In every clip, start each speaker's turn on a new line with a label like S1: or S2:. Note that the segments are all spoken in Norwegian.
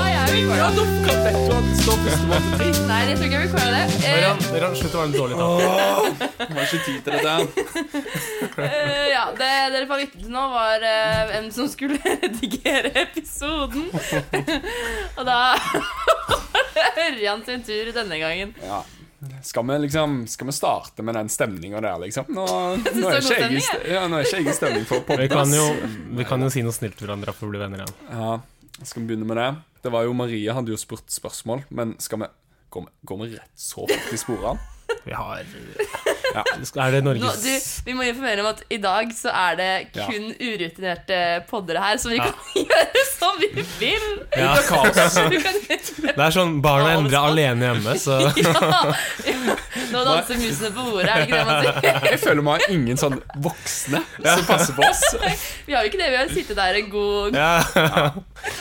S1: Ja, nå kan dette være den største måten til ting.
S2: Nei, jeg tror ikke jeg vil klare det.
S1: Ørjan, Ørjan, slutt å være en dårlig taper.
S3: Har ikke tid til dette.
S2: Eh, ja, det dere får lytte til nå, var eh, hvem som skulle redigere episoden. Og da Ørjan sin tur denne gangen.
S3: Ja. Skal vi liksom Skal vi starte med den stemninga der, liksom? Nå, nå, er
S2: det er
S3: ikke
S2: god
S3: jeg, i st- ja, nå er ikke jeg i stemning for
S1: Vi
S3: podkast.
S1: kan, jo, vi kan jo si noe snilt til hverandre for å bli venner igjen.
S3: Ja, skal vi begynne med det? Det var jo Maria hadde jo spurt spørsmål, men skal vi Går vi, går vi rett så fort i sporene?
S1: Vi har
S3: Ja.
S1: Er det
S2: Nå,
S1: Norges
S2: du, vi må informere om at i dag så er det
S3: Ja.
S2: kun urutinerte poddere her, så vi kan gjøre som vi vil.
S1: ja.
S2: Du kan,
S1: Det er sånn barna er endra alene hjemme, så
S2: nå danser musene på bordet, er det ikke det man sier?
S3: Jeg føler vi har ingen sånn voksne som passer på oss.
S2: Vi har jo ikke det, vi har sittet der en god
S1: ja.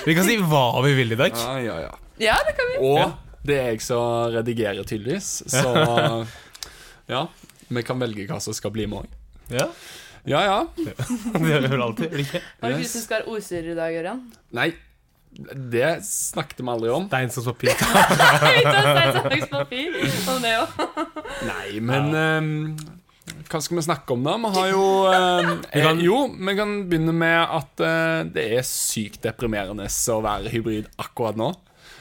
S1: Vi kan si hva vi vil i dag.
S3: Ja, ja, ja.
S2: Ja, det kan vi.
S1: Ja.
S3: Og det er jeg som redigerer, tydeligvis. Så ja, vi kan velge hva som skal bli med òg.
S1: Ja,
S3: Ja, ja.
S1: Det gjør vi vel alltid. eller ikke?
S2: Var det ikke du
S3: Yes.
S2: som skal være ordstyrer i dag, Ørjan?
S3: Nei, det snakket vi aldri om.
S1: Stein som papir.
S2: Vi tar stein, saks, papir. Og det òg.
S3: Nei, men ehm, hva skal vi snakke om, da? Vi har jo ehm,
S1: Vi kan-
S3: eh, Jo, vi kan begynne med at eh, det er sykt deprimerende å være hybrid akkurat nå.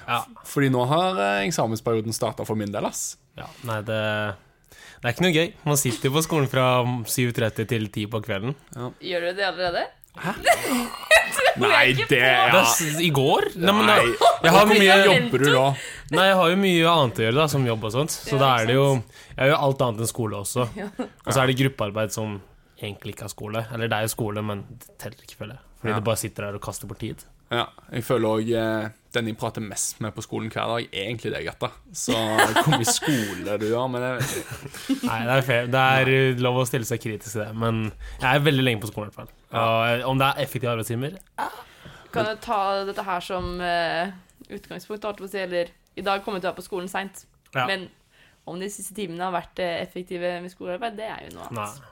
S1: Ja.
S3: Fordi nå har eh, eksamensperioden starta for min del, ass.
S1: Ja, nei, det, det er ikke noe gøy. Man sitter jo på skolen fra 7.30 til 10 på kvelden.
S2: Gjør du det allerede?
S3: Nei, det
S1: Det
S3: ja.
S1: er s- I går? Nei, men
S3: Nei.
S1: jeg, jeg har
S3: Hvor mye
S1: mye
S3: jobber du da?
S1: Nei, jeg har jo mye annet å gjøre, da, som jobb og sånt. Så
S2: Ja,
S1: da
S2: ikke
S1: er det jo Jeg gjør alt annet enn skole også. Og så er det gruppearbeid som egentlig ikke er skole. Eller det er jo skole, men det teller ikke, føler jeg. Fordi
S3: Ja.
S1: du bare sitter der og kaster bort tid.
S3: Ja, jeg føler òg den jeg prater mest med på skolen hver dag, er egentlig deg, Gatta. Så hvor mye skole du gjør, men jeg,
S1: Nei, det er fair. Det er uh, lov å stille seg kritisk til det, men jeg er veldig lenge på skolen, i hvert fall. Og eh, om det er effektive arbeidstimer
S2: Kan du ta dette her som eh, utgangspunkt? holdt jeg på å si, Eller i dag kommer du til å være på skolen seint.
S1: Ja.
S2: Men om de siste timene har vært eh, effektive med skolearbeid, det er jo noe
S1: Nei.
S2: annet.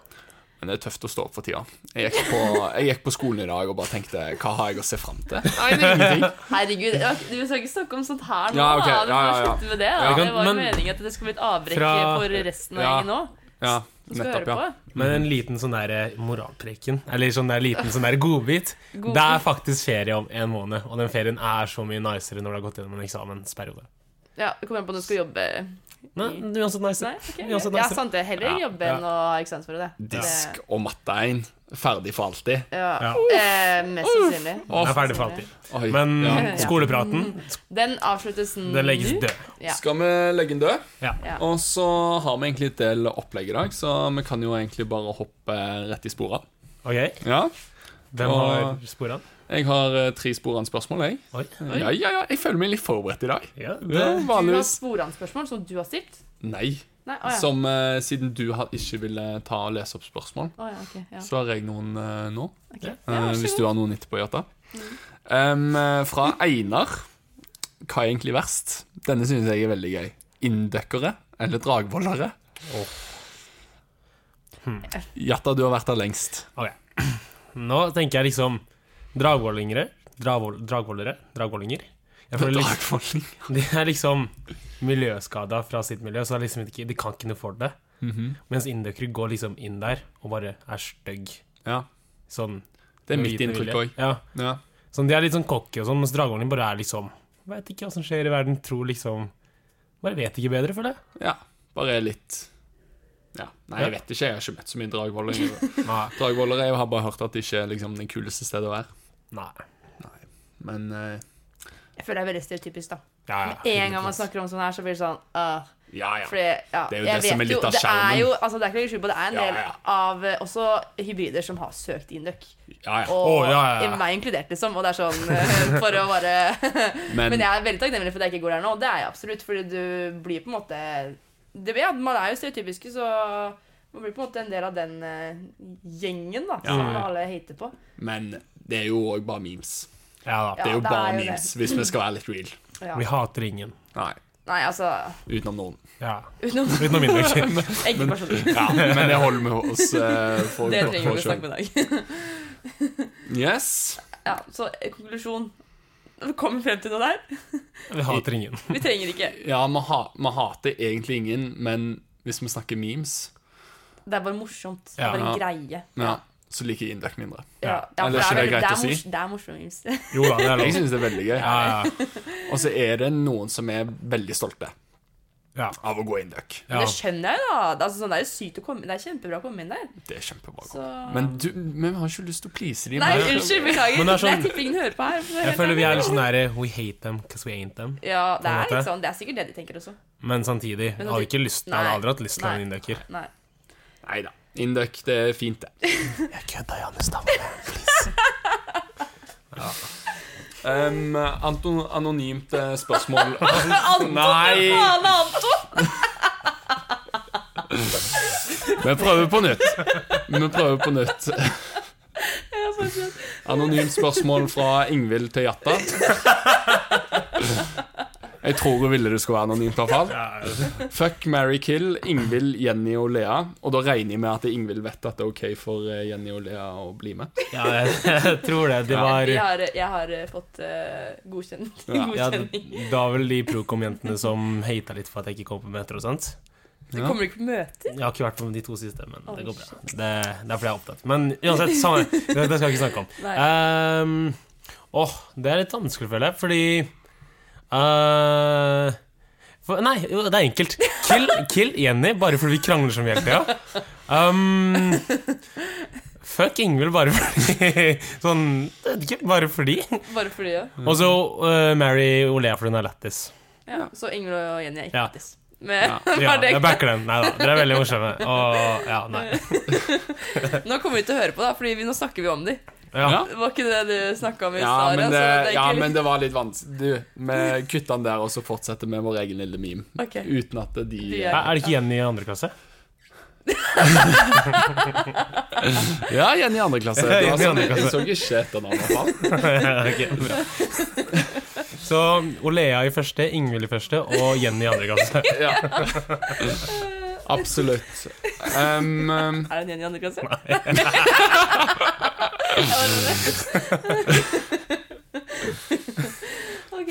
S3: Men det er tøft å stå opp for tida. Jeg gikk, på, jeg gikk på skolen i dag og bare tenkte Hva har jeg å se fram til?
S2: Oi, men-
S3: Ingenting.
S2: Herregud, ok, du skal ikke snakke om sånt her nå.
S3: Ja, ok,
S2: da. Du må
S3: ja, ja, ja.
S2: slutte med det. Da.
S3: Ja.
S2: Det var jo
S1: Men-
S2: meningen at det skulle bli et avbrekk
S1: Fra-
S2: for resten av
S3: Ja.
S2: gjengen nå.
S3: Ja,
S2: Du skal
S3: nettopp, ja.
S2: høre
S1: Men en liten sånn der moralpreken, eller sånn der liten sånn der godbit,
S2: Godbit.
S1: det er faktisk ferie om en måned, og den ferien er så mye nicere når du har gått gjennom en eksamensperiode.
S2: på. Ja, det kommer an på når du skal jobbe.
S1: Nei, uansett nice.
S2: Nei, ok.
S1: Uansett
S2: Ja,
S1: nice.
S2: sant det. Heller
S1: Ja,
S2: jobbe
S1: ja.
S2: enn å ha eksamen for det.
S3: Disk og matte 1. Ferdig for alltid.
S2: Det- Ja.
S1: Ja.
S2: Eh, mest sannsynlig.
S1: Jeg er ferdig for alltid.
S3: Oi,
S1: Men
S3: ja.
S1: skolepraten,
S2: Den avsluttes nå.
S1: den legges død.
S2: Ja.
S3: Skal vi legge den død?
S1: Ja.
S2: Ja.
S3: Og så har vi egentlig et del opplegg i dag, så vi kan jo egentlig bare hoppe rett i sporene.
S1: Ok,
S3: Ja.
S1: hvem har sporene?
S3: Jeg har eh, tre sporene spørsmål, jeg.
S1: Oi.
S3: Ja, ja, ja. Jeg føler meg litt forberedt i dag.
S1: Ja,
S3: Ja,
S1: det.
S2: Du har
S3: vanligvis
S2: sporanspørsmål som du har stilt?
S3: Nei.
S2: Nei, å ja.
S3: Som eh, siden du har, ikke ville ta og lese opp spørsmål,
S2: Å ja, ok, ja.
S3: så har jeg noen eh, nå.
S2: ok. ja,
S3: Eh,
S2: vær så
S3: hvis
S2: god.
S3: du har noen etterpå, Jata. Um, eh, fra Einar. Hva er egentlig verst? Denne synes jeg er veldig gøy. Inndøkkere eller dragvollere?
S1: Åh.
S3: Hmm. Jata, du har vært der lengst.
S1: Ok. Nå tenker jeg liksom dragvollingere, dragvoll- dragvollere, dragvollinger. Jeg føler liksom-
S3: Dragvolling.
S1: De er liksom miljøskada fra sitt miljø, så det er liksom ikke, de kan ikke noe for det.
S3: Mhm.
S1: Mens indøkere går liksom inn der og bare er stygg.
S3: Ja,
S1: Sånn
S3: det er
S1: med
S3: mitt
S1: viten
S3: inntrykk
S1: vilje.
S3: òg.
S1: Ja.
S3: Ja.
S1: Sånn, de er litt sånn cocky og sånn, mens dragvollene bare er liksom Veit ikke hva som skjer i verden, tror liksom Bare vet ikke bedre, føler jeg.
S3: ja. Bare litt ja. Nei, jeg vet ikke. Jeg har ikke møtt så mye dragvolling.
S1: Nei.
S3: Dragvollere jeg har bare hørt at det ikke er liksom, det kuleste stedet å være.
S1: Nei.
S3: Men eh,
S2: Jeg føler det er veldig stereotypisk, da.
S1: Ja, ja.
S2: Med en gang man snakker om sånn her, så blir det sånn øh,
S3: ja, ja.
S2: fordi, ja,
S3: Det er jo
S2: jeg
S3: det som
S2: vet
S3: er litt av
S2: det
S3: skjermen.
S2: Er jo, altså, det er ikke noe skjul på, det er en
S3: Ja,
S2: del
S3: ja.
S2: av eh, også hybrider som har søkt indøk.
S3: ja, ja.
S2: Og
S1: Å, ja, ja, ja.
S2: meg inkludert, liksom. Og det er sånn eh, for å bare
S3: Men,
S2: Men jeg er veldig takknemlig for at jeg ikke går der nå. Det er jeg absolutt, fordi du blir på en måte det, ja, Man er jo stereotypiske, så man blir på en måte en del av den eh, gjengen da, som
S1: Ja.
S2: alle hater på.
S3: men det er jo òg bare memes.
S1: Ja da.
S3: Det er jo
S2: Ja, det er
S3: bare
S2: jo det.
S3: memes, hvis vi skal være litt real.
S2: Ja.
S1: Vi hater ingen.
S3: Nei,
S2: Nei, altså
S3: utenom noen.
S1: Ja.
S2: Utenom
S1: Utenom indøkere.
S2: enkeltpersoner.
S3: Ja, men det holder vi oss eh, for
S2: Det trenger vi
S3: for
S2: ikke snakke
S3: selv.
S2: med i dag.
S3: Yes.
S2: Ja, så eh, konklusjon. Kom frem til noe der.
S1: Vi hater ingen.
S2: Vi trenger ikke.
S3: Ja, vi, ha, vi hater egentlig ingen, men hvis vi snakker memes,
S2: Det er bare morsomt. Det er bare
S3: Ja.
S2: en greie.
S3: ja, så liker jeg Indøk mindre.
S2: Ja, ja,
S3: Eller
S2: for
S3: så det er
S2: veldig-
S3: greit å si.
S2: mors- Det er morsomt.
S1: Jo da, det er
S3: Jeg
S1: lov.
S3: syns det er veldig gøy.
S1: Ja, ja,
S3: Og så er det noen som er veldig stolte
S1: ja.
S3: av å gå Indøk.
S1: ja.
S2: Det skjønner jeg jo, da. Det, er altså, sånn, det er jo sykt å komme Det er kjempebra å komme inn der.
S3: Det er kjempebra.
S2: Så...
S3: Men du, men vi har ikke lyst til å please dem.
S2: Nei,
S3: men-
S2: unnskyld.
S1: Men
S2: Beklager.
S1: det
S2: Det
S1: er
S2: er,
S1: sånn-
S2: tipper ingen hører på her. for å være
S1: Jeg
S2: helt
S1: føler vi
S2: ærlig.
S1: er litt sånn derre We hate them because we ain't them.
S2: Ja, det
S1: på en
S2: er
S1: måte.
S2: litt sånn. Det er sikkert det de tenker også.
S1: Men samtidig, jeg hadde ikke lyst Jeg hadde
S2: Nei.
S1: aldri hatt lyst til å være en
S2: Nei.
S1: indeker.
S2: Nei.
S3: Nei da. Indøk, det er fint, det. Jeg kødda, Janne Stavne. Ja. Um, Anton, anonymt eh, spørsmål.
S2: Anton,
S3: Nei.
S2: faen Anton!
S3: Vi prøver på nytt. Vi prøver på nytt.
S2: Ja, fortsett.
S3: Anonymt spørsmål fra Ingvild til Jatta. Jeg tror hun ville det skulle være anonymt. i hvert fall Fuck, marry, kill Ingvild, Jenny og Lea. Og da regner jeg med at Ingvild vet at det er OK for eh, Jenny og Lea å bli med.
S1: Ja, jeg, jeg tror det. De var
S2: Jeg har, jeg har eh, fått eh, godkjenning.
S1: ja,
S2: godkjenning.
S1: Det var vel de Procom-jentene som hata litt for at jeg ikke kom på møter og sånt.
S2: Du kommer ikke på møter?
S1: Jeg har ikke vært på de to siste, men det går bra.
S2: Oi,
S1: Det, det er fordi jeg er opptatt. Men uansett, samme, det, det skal jeg ikke snakke om.
S2: Nei.
S1: Ehm, Åh, det er litt vanskelig, føler jeg, fordi eh, for, Nei, jo, det er enkelt. Kill, kill Jenny, bare fordi vi krangler som vi hele tida. Um, fuck Ingvild, bare fordi Sånn jeg vet ikke, Bare fordi.
S2: Bare fordi, ja.
S1: Og så eh, Mary Olea fordi hun er lættis.
S2: ja. Så Ingrid og Jenny er ikke
S1: Ja.
S2: lættis. Men
S1: Ja,
S2: var det
S1: jeg
S2: ikke-
S1: backer den. Nei da, dere er veldig morsomme. Og ja, nei.
S2: Nå kommer de til å høre på, da, Fordi vi, nå snakker vi om de.
S1: Ja.
S3: Ja.
S2: Det var ikke det du snakka om i
S3: Ja,
S2: stad?
S3: men
S2: altså, det er
S3: det, ja,
S2: ikke-
S3: men det var litt vanskelig. Du, vi kutter den der, og så fortsetter vi vår egen lille meme.
S2: Ok.
S3: Uten at de,
S2: De
S1: Er er det ikke Jenny i andre klasse?
S3: Ja, Jenny i andre klasse. Det var
S1: Jenny i
S3: sånn,
S1: andre
S3: jeg så ikke etter navnet. i hvert fall.
S1: Ok, bra. Så Olea i første, Ingvild i første og Jenny i andre klasse.
S3: Ja. Absolutt. Um, um,
S2: Er det en Jenny i andre klasse? ok,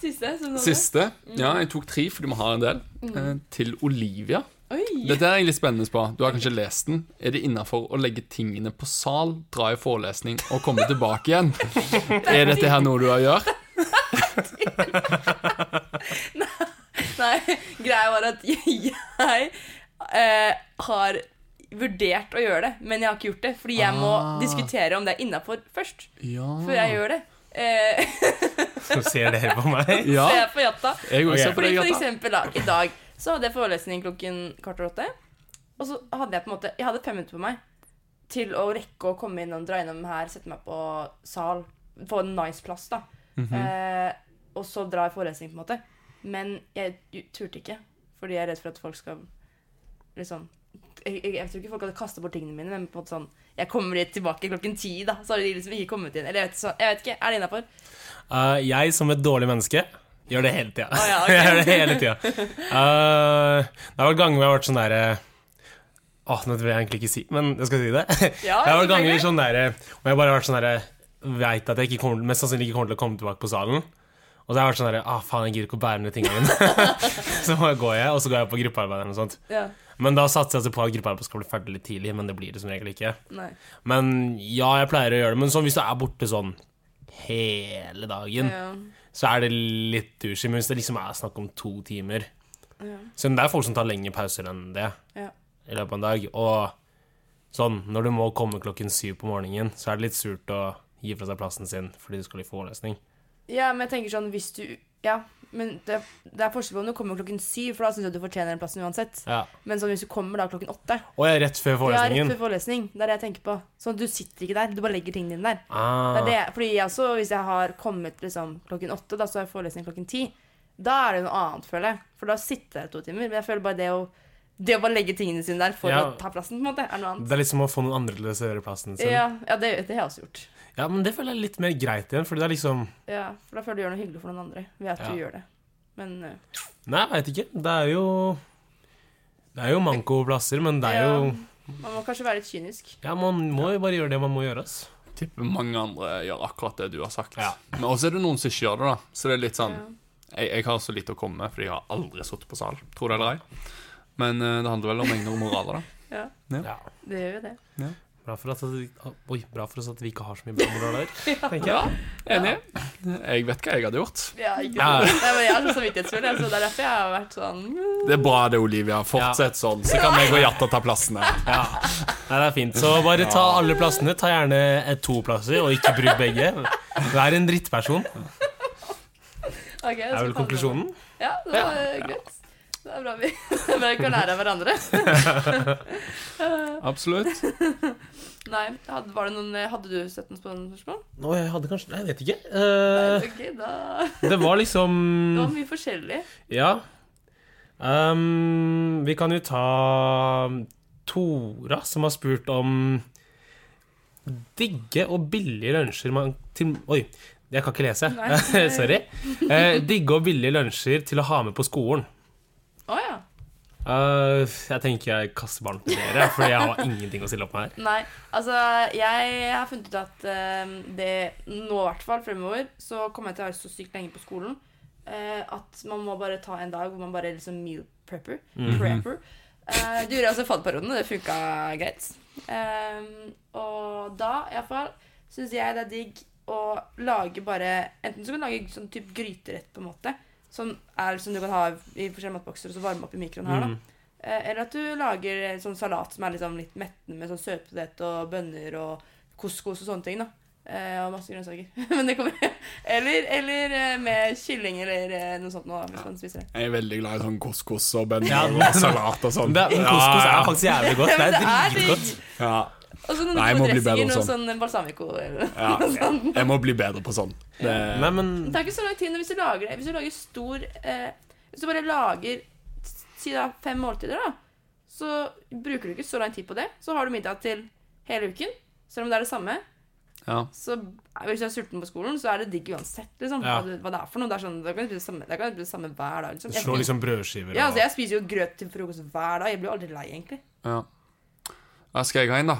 S2: siste. Som noen-
S3: siste. Ja, jeg tok tre, for du må ha en del.
S2: Mm.
S3: Eh, Til Olivia.
S2: Oi!
S3: Dette er jeg litt spennende på. Du har kanskje lest den. Er det innafor å legge tingene på sal, dra i forelesning og komme tilbake igjen? Er dette her noe du har å gjøre?
S2: Nei, greia var at jeg, eh, har vurdert å gjøre det, men jeg har ikke gjort det. Fordi jeg må
S3: Ah.
S2: diskutere om det er innafor først,
S3: Ja.
S2: før jeg gjør det. Eh,
S1: Så ser dere på meg.
S3: Ja,
S2: Så jeg er på jatta.
S3: jeg
S1: Ok.
S3: også ser på
S2: Fordi
S3: deg,
S2: for
S3: Gata.
S2: eksempel da, i dag så hadde jeg forelesning klokken kvart over åtte. Og så hadde jeg på en måte Jeg hadde fem minutter på meg til å rekke å komme inn og dra innom her, sette meg på sal, få en nice plass, da. eh, og så dra i forelesning, på en måte. Men jeg ju- turte ikke, fordi jeg er redd for at folk skal liksom jeg, jeg, jeg tror ikke folk hadde kasta bort tingene mine, men på en måte sånn Jeg kommer litt tilbake klokken ti, da. Så har de liksom ikke kommet inn. Eller jeg vet, sånn, jeg vet ikke. Er det innafor?
S1: Eh, jeg som et dårlig menneske gjør det hele tida.
S2: Å, ja, ok.
S1: Jeg gjør det hele tida. Eh, det har vært ganger hvor jeg har vært sånn derre Åh, nå vil jeg egentlig ikke si men jeg skal si det.
S2: Ja,
S1: det har vært ganger
S2: selvfølgelig.
S1: sånn derre hvor jeg bare har vært sånn derre Veit at jeg ikke kommer, mest sannsynlig ikke kommer til å komme tilbake på salen. Og så har jeg vært sånn derre Ah, faen, jeg gidder ikke å bære med tingene mine. så bare går jeg, og så går jeg på gruppearbeid eller noe sånt.
S2: Ja.
S1: Men da satser jeg altså på at gruppearbeid skal bli ferdig litt tidlig, men det blir det som regel ikke.
S2: Nei.
S1: Men ja, jeg pleier å gjøre det. Men sånn, hvis du er borte sånn hele dagen,
S2: Ja.
S1: så er det litt douchey. Men hvis det liksom er snakk om to timer
S2: Ja.
S1: Selv om det er folk som tar lengre pauser enn det
S2: Ja.
S1: i løpet av en dag. Og sånn, når du må komme klokken syv på morgenen, så er det litt surt å gi fra seg plassen sin fordi du skal i forelesning.
S2: Ja, men jeg tenker sånn hvis du Ja, men det, det er forskjell på om du kommer klokken syv, for da syns jeg at du fortjener den plassen uansett.
S1: Ja.
S2: Men sånn hvis du kommer da klokken åtte
S1: Og jeg er rett før
S2: Ja, rett
S1: forelesningen.
S2: før forelesning. Det er det jeg tenker på. Sånn at du sitter ikke der, du bare legger tingene dine der. Det
S1: Ah,
S2: er det, fordi jeg også, hvis jeg har kommet liksom, klokken åtte, da så er forelesning klokken ti. Da er det noe annet, føler jeg. For da sitter jeg to timer. Men jeg føler bare det å det å bare legge tingene sine der for
S1: Ja. Sånn.
S2: å ta plassen, på en måte, er noe annet.
S1: det er liksom å få noen andre til å reservere plassen sin.
S2: Ja, ja det, det har jeg også gjort.
S1: Ja, men det føler jeg er litt mer greit igjen, fordi det er liksom
S2: Ja, For da føler du gjør noe hyggelig for noen andre ved at
S1: Ja.
S2: du gjør det. Men eh,
S1: Nei, jeg veit ikke. Det er jo Det er jo manko plasser, men det er jo
S2: man må kanskje være litt kynisk.
S1: Ja, man må jo bare gjøre det man må gjøre, ass.
S3: tipper mange andre gjør akkurat det du har sagt.
S1: Ja.
S3: Men også er det noen som ikke gjør det, da. Så det er litt sånn
S2: Ja.
S3: jeg, jeg har så lite å komme med, fordi jeg har aldri sittet på sal. Tror det eller ei. Men eh, det handler vel om mengder og moraler, da.
S2: Ja,
S1: Ja.
S2: det gjør jo det.
S1: Bra, for at, oi, bra for oss at vi ikke har så mye bra der, tenker jeg.
S3: Ja, enig. Jeg vet hva jeg hadde gjort.
S2: Ja, ikke
S1: Ja.
S2: sant? Nei, men jeg er så samvittighetsfull, jeg, så det er derfor jeg har vært sånn
S3: Det er bra det, Olivia. Fortsett sånn, så kan jeg og Jatta ta plassene.
S1: Ja. Nei, det er fint. Så bare ta alle plassene. Ta gjerne eh, to plasser, og ikke bruk begge. Vær en drittperson,
S2: Ok, jeg skal
S1: er vel
S2: passe meg.
S1: konklusjonen.
S2: Ja, det var eh, greit. Det er bra vi, det er bra vi kan lære av hverandre.
S3: Absolutt.
S2: Nei, hadde, var det noen, hadde du sett noen spennende spørsmål?
S1: Nå, jeg hadde kanskje Nei, jeg vet ikke.
S2: Nei,
S1: Eh,
S2: ok, da
S1: det var liksom
S2: Det var mye forskjellig.
S1: Ja. Ehm, vi kan jo ta Tora, som har spurt om digge og billige lunsjer man til Oi, jeg kan ikke lese.
S2: Nei.
S1: Sorry. Eh, digge og billige lunsjer til å ha med på skolen.
S2: Å ja.
S1: Eh, jeg tenker jeg kaster ballen til dere, Fordi jeg har ingenting å stille opp med her.
S2: Nei, altså jeg har funnet ut at eh, det nå i hvert fall fremover, så kommer jeg til å være så sykt lenge på skolen eh, at man må bare ta en dag hvor man bare liksom meal prepper. prepper. Eh, det gjorde jeg også i fadderperioden, og det funka greit. Eh, og da iallfall syns jeg det er digg å lage bare Enten så kan du lage sånn type gryterett, på en måte, som er som du kan ha i forskjellige matbokser og så varme opp i mikroen her, da.
S1: Mm.
S2: Eh, Eller at du lager eh, sånn salat som er liksom litt mettende med sånn søtpotet og bønner og couscous og sånne ting. da. Eh, og masse grønnsaker. Men det kommer Eller, eller eh, med kylling eller eh, noe sånt nå, da, hvis man spiser det.
S3: Jeg er veldig glad i sånn couscous og bønner
S1: Ja,
S3: og salat og sånn.
S1: Det, men couscous
S3: Ja,
S1: er faktisk jævlig godt. Det
S2: Men
S1: er
S2: digg.
S1: dritgodt.
S3: ja,
S2: Og så noen
S3: Nei, jeg må
S2: gode
S3: bli bedre
S2: dressinger, noe
S3: på
S2: sånn balsamico eller
S3: ja,
S2: noe sånt.
S3: Jeg må bli bedre på sånn. Det,
S1: Nei, men
S2: Det tar ikke så lang tid men hvis du lager det. Hvis du lager stor eh, Hvis du bare lager si da fem måltider, da, så bruker du ikke så lang tid på det. Så har du middag til hele uken, selv om det er det samme.
S3: ja.
S2: så eh, hvis du er sulten på skolen, så er det digg uansett. Liksom, hva,
S1: Ja.
S2: du, hva det er for noe. Det er sånn, da kan du spise det samme, da kan du spise det samme hver dag. Liksom. Jeg,
S1: slå
S2: spiser-
S1: liksom brødskiver
S2: ja, altså,
S1: og
S2: jeg spiser jo grøt til frokost hver dag. Jeg blir jo aldri lei, egentlig.
S3: Ja. Hva skal jeg ha inn, da?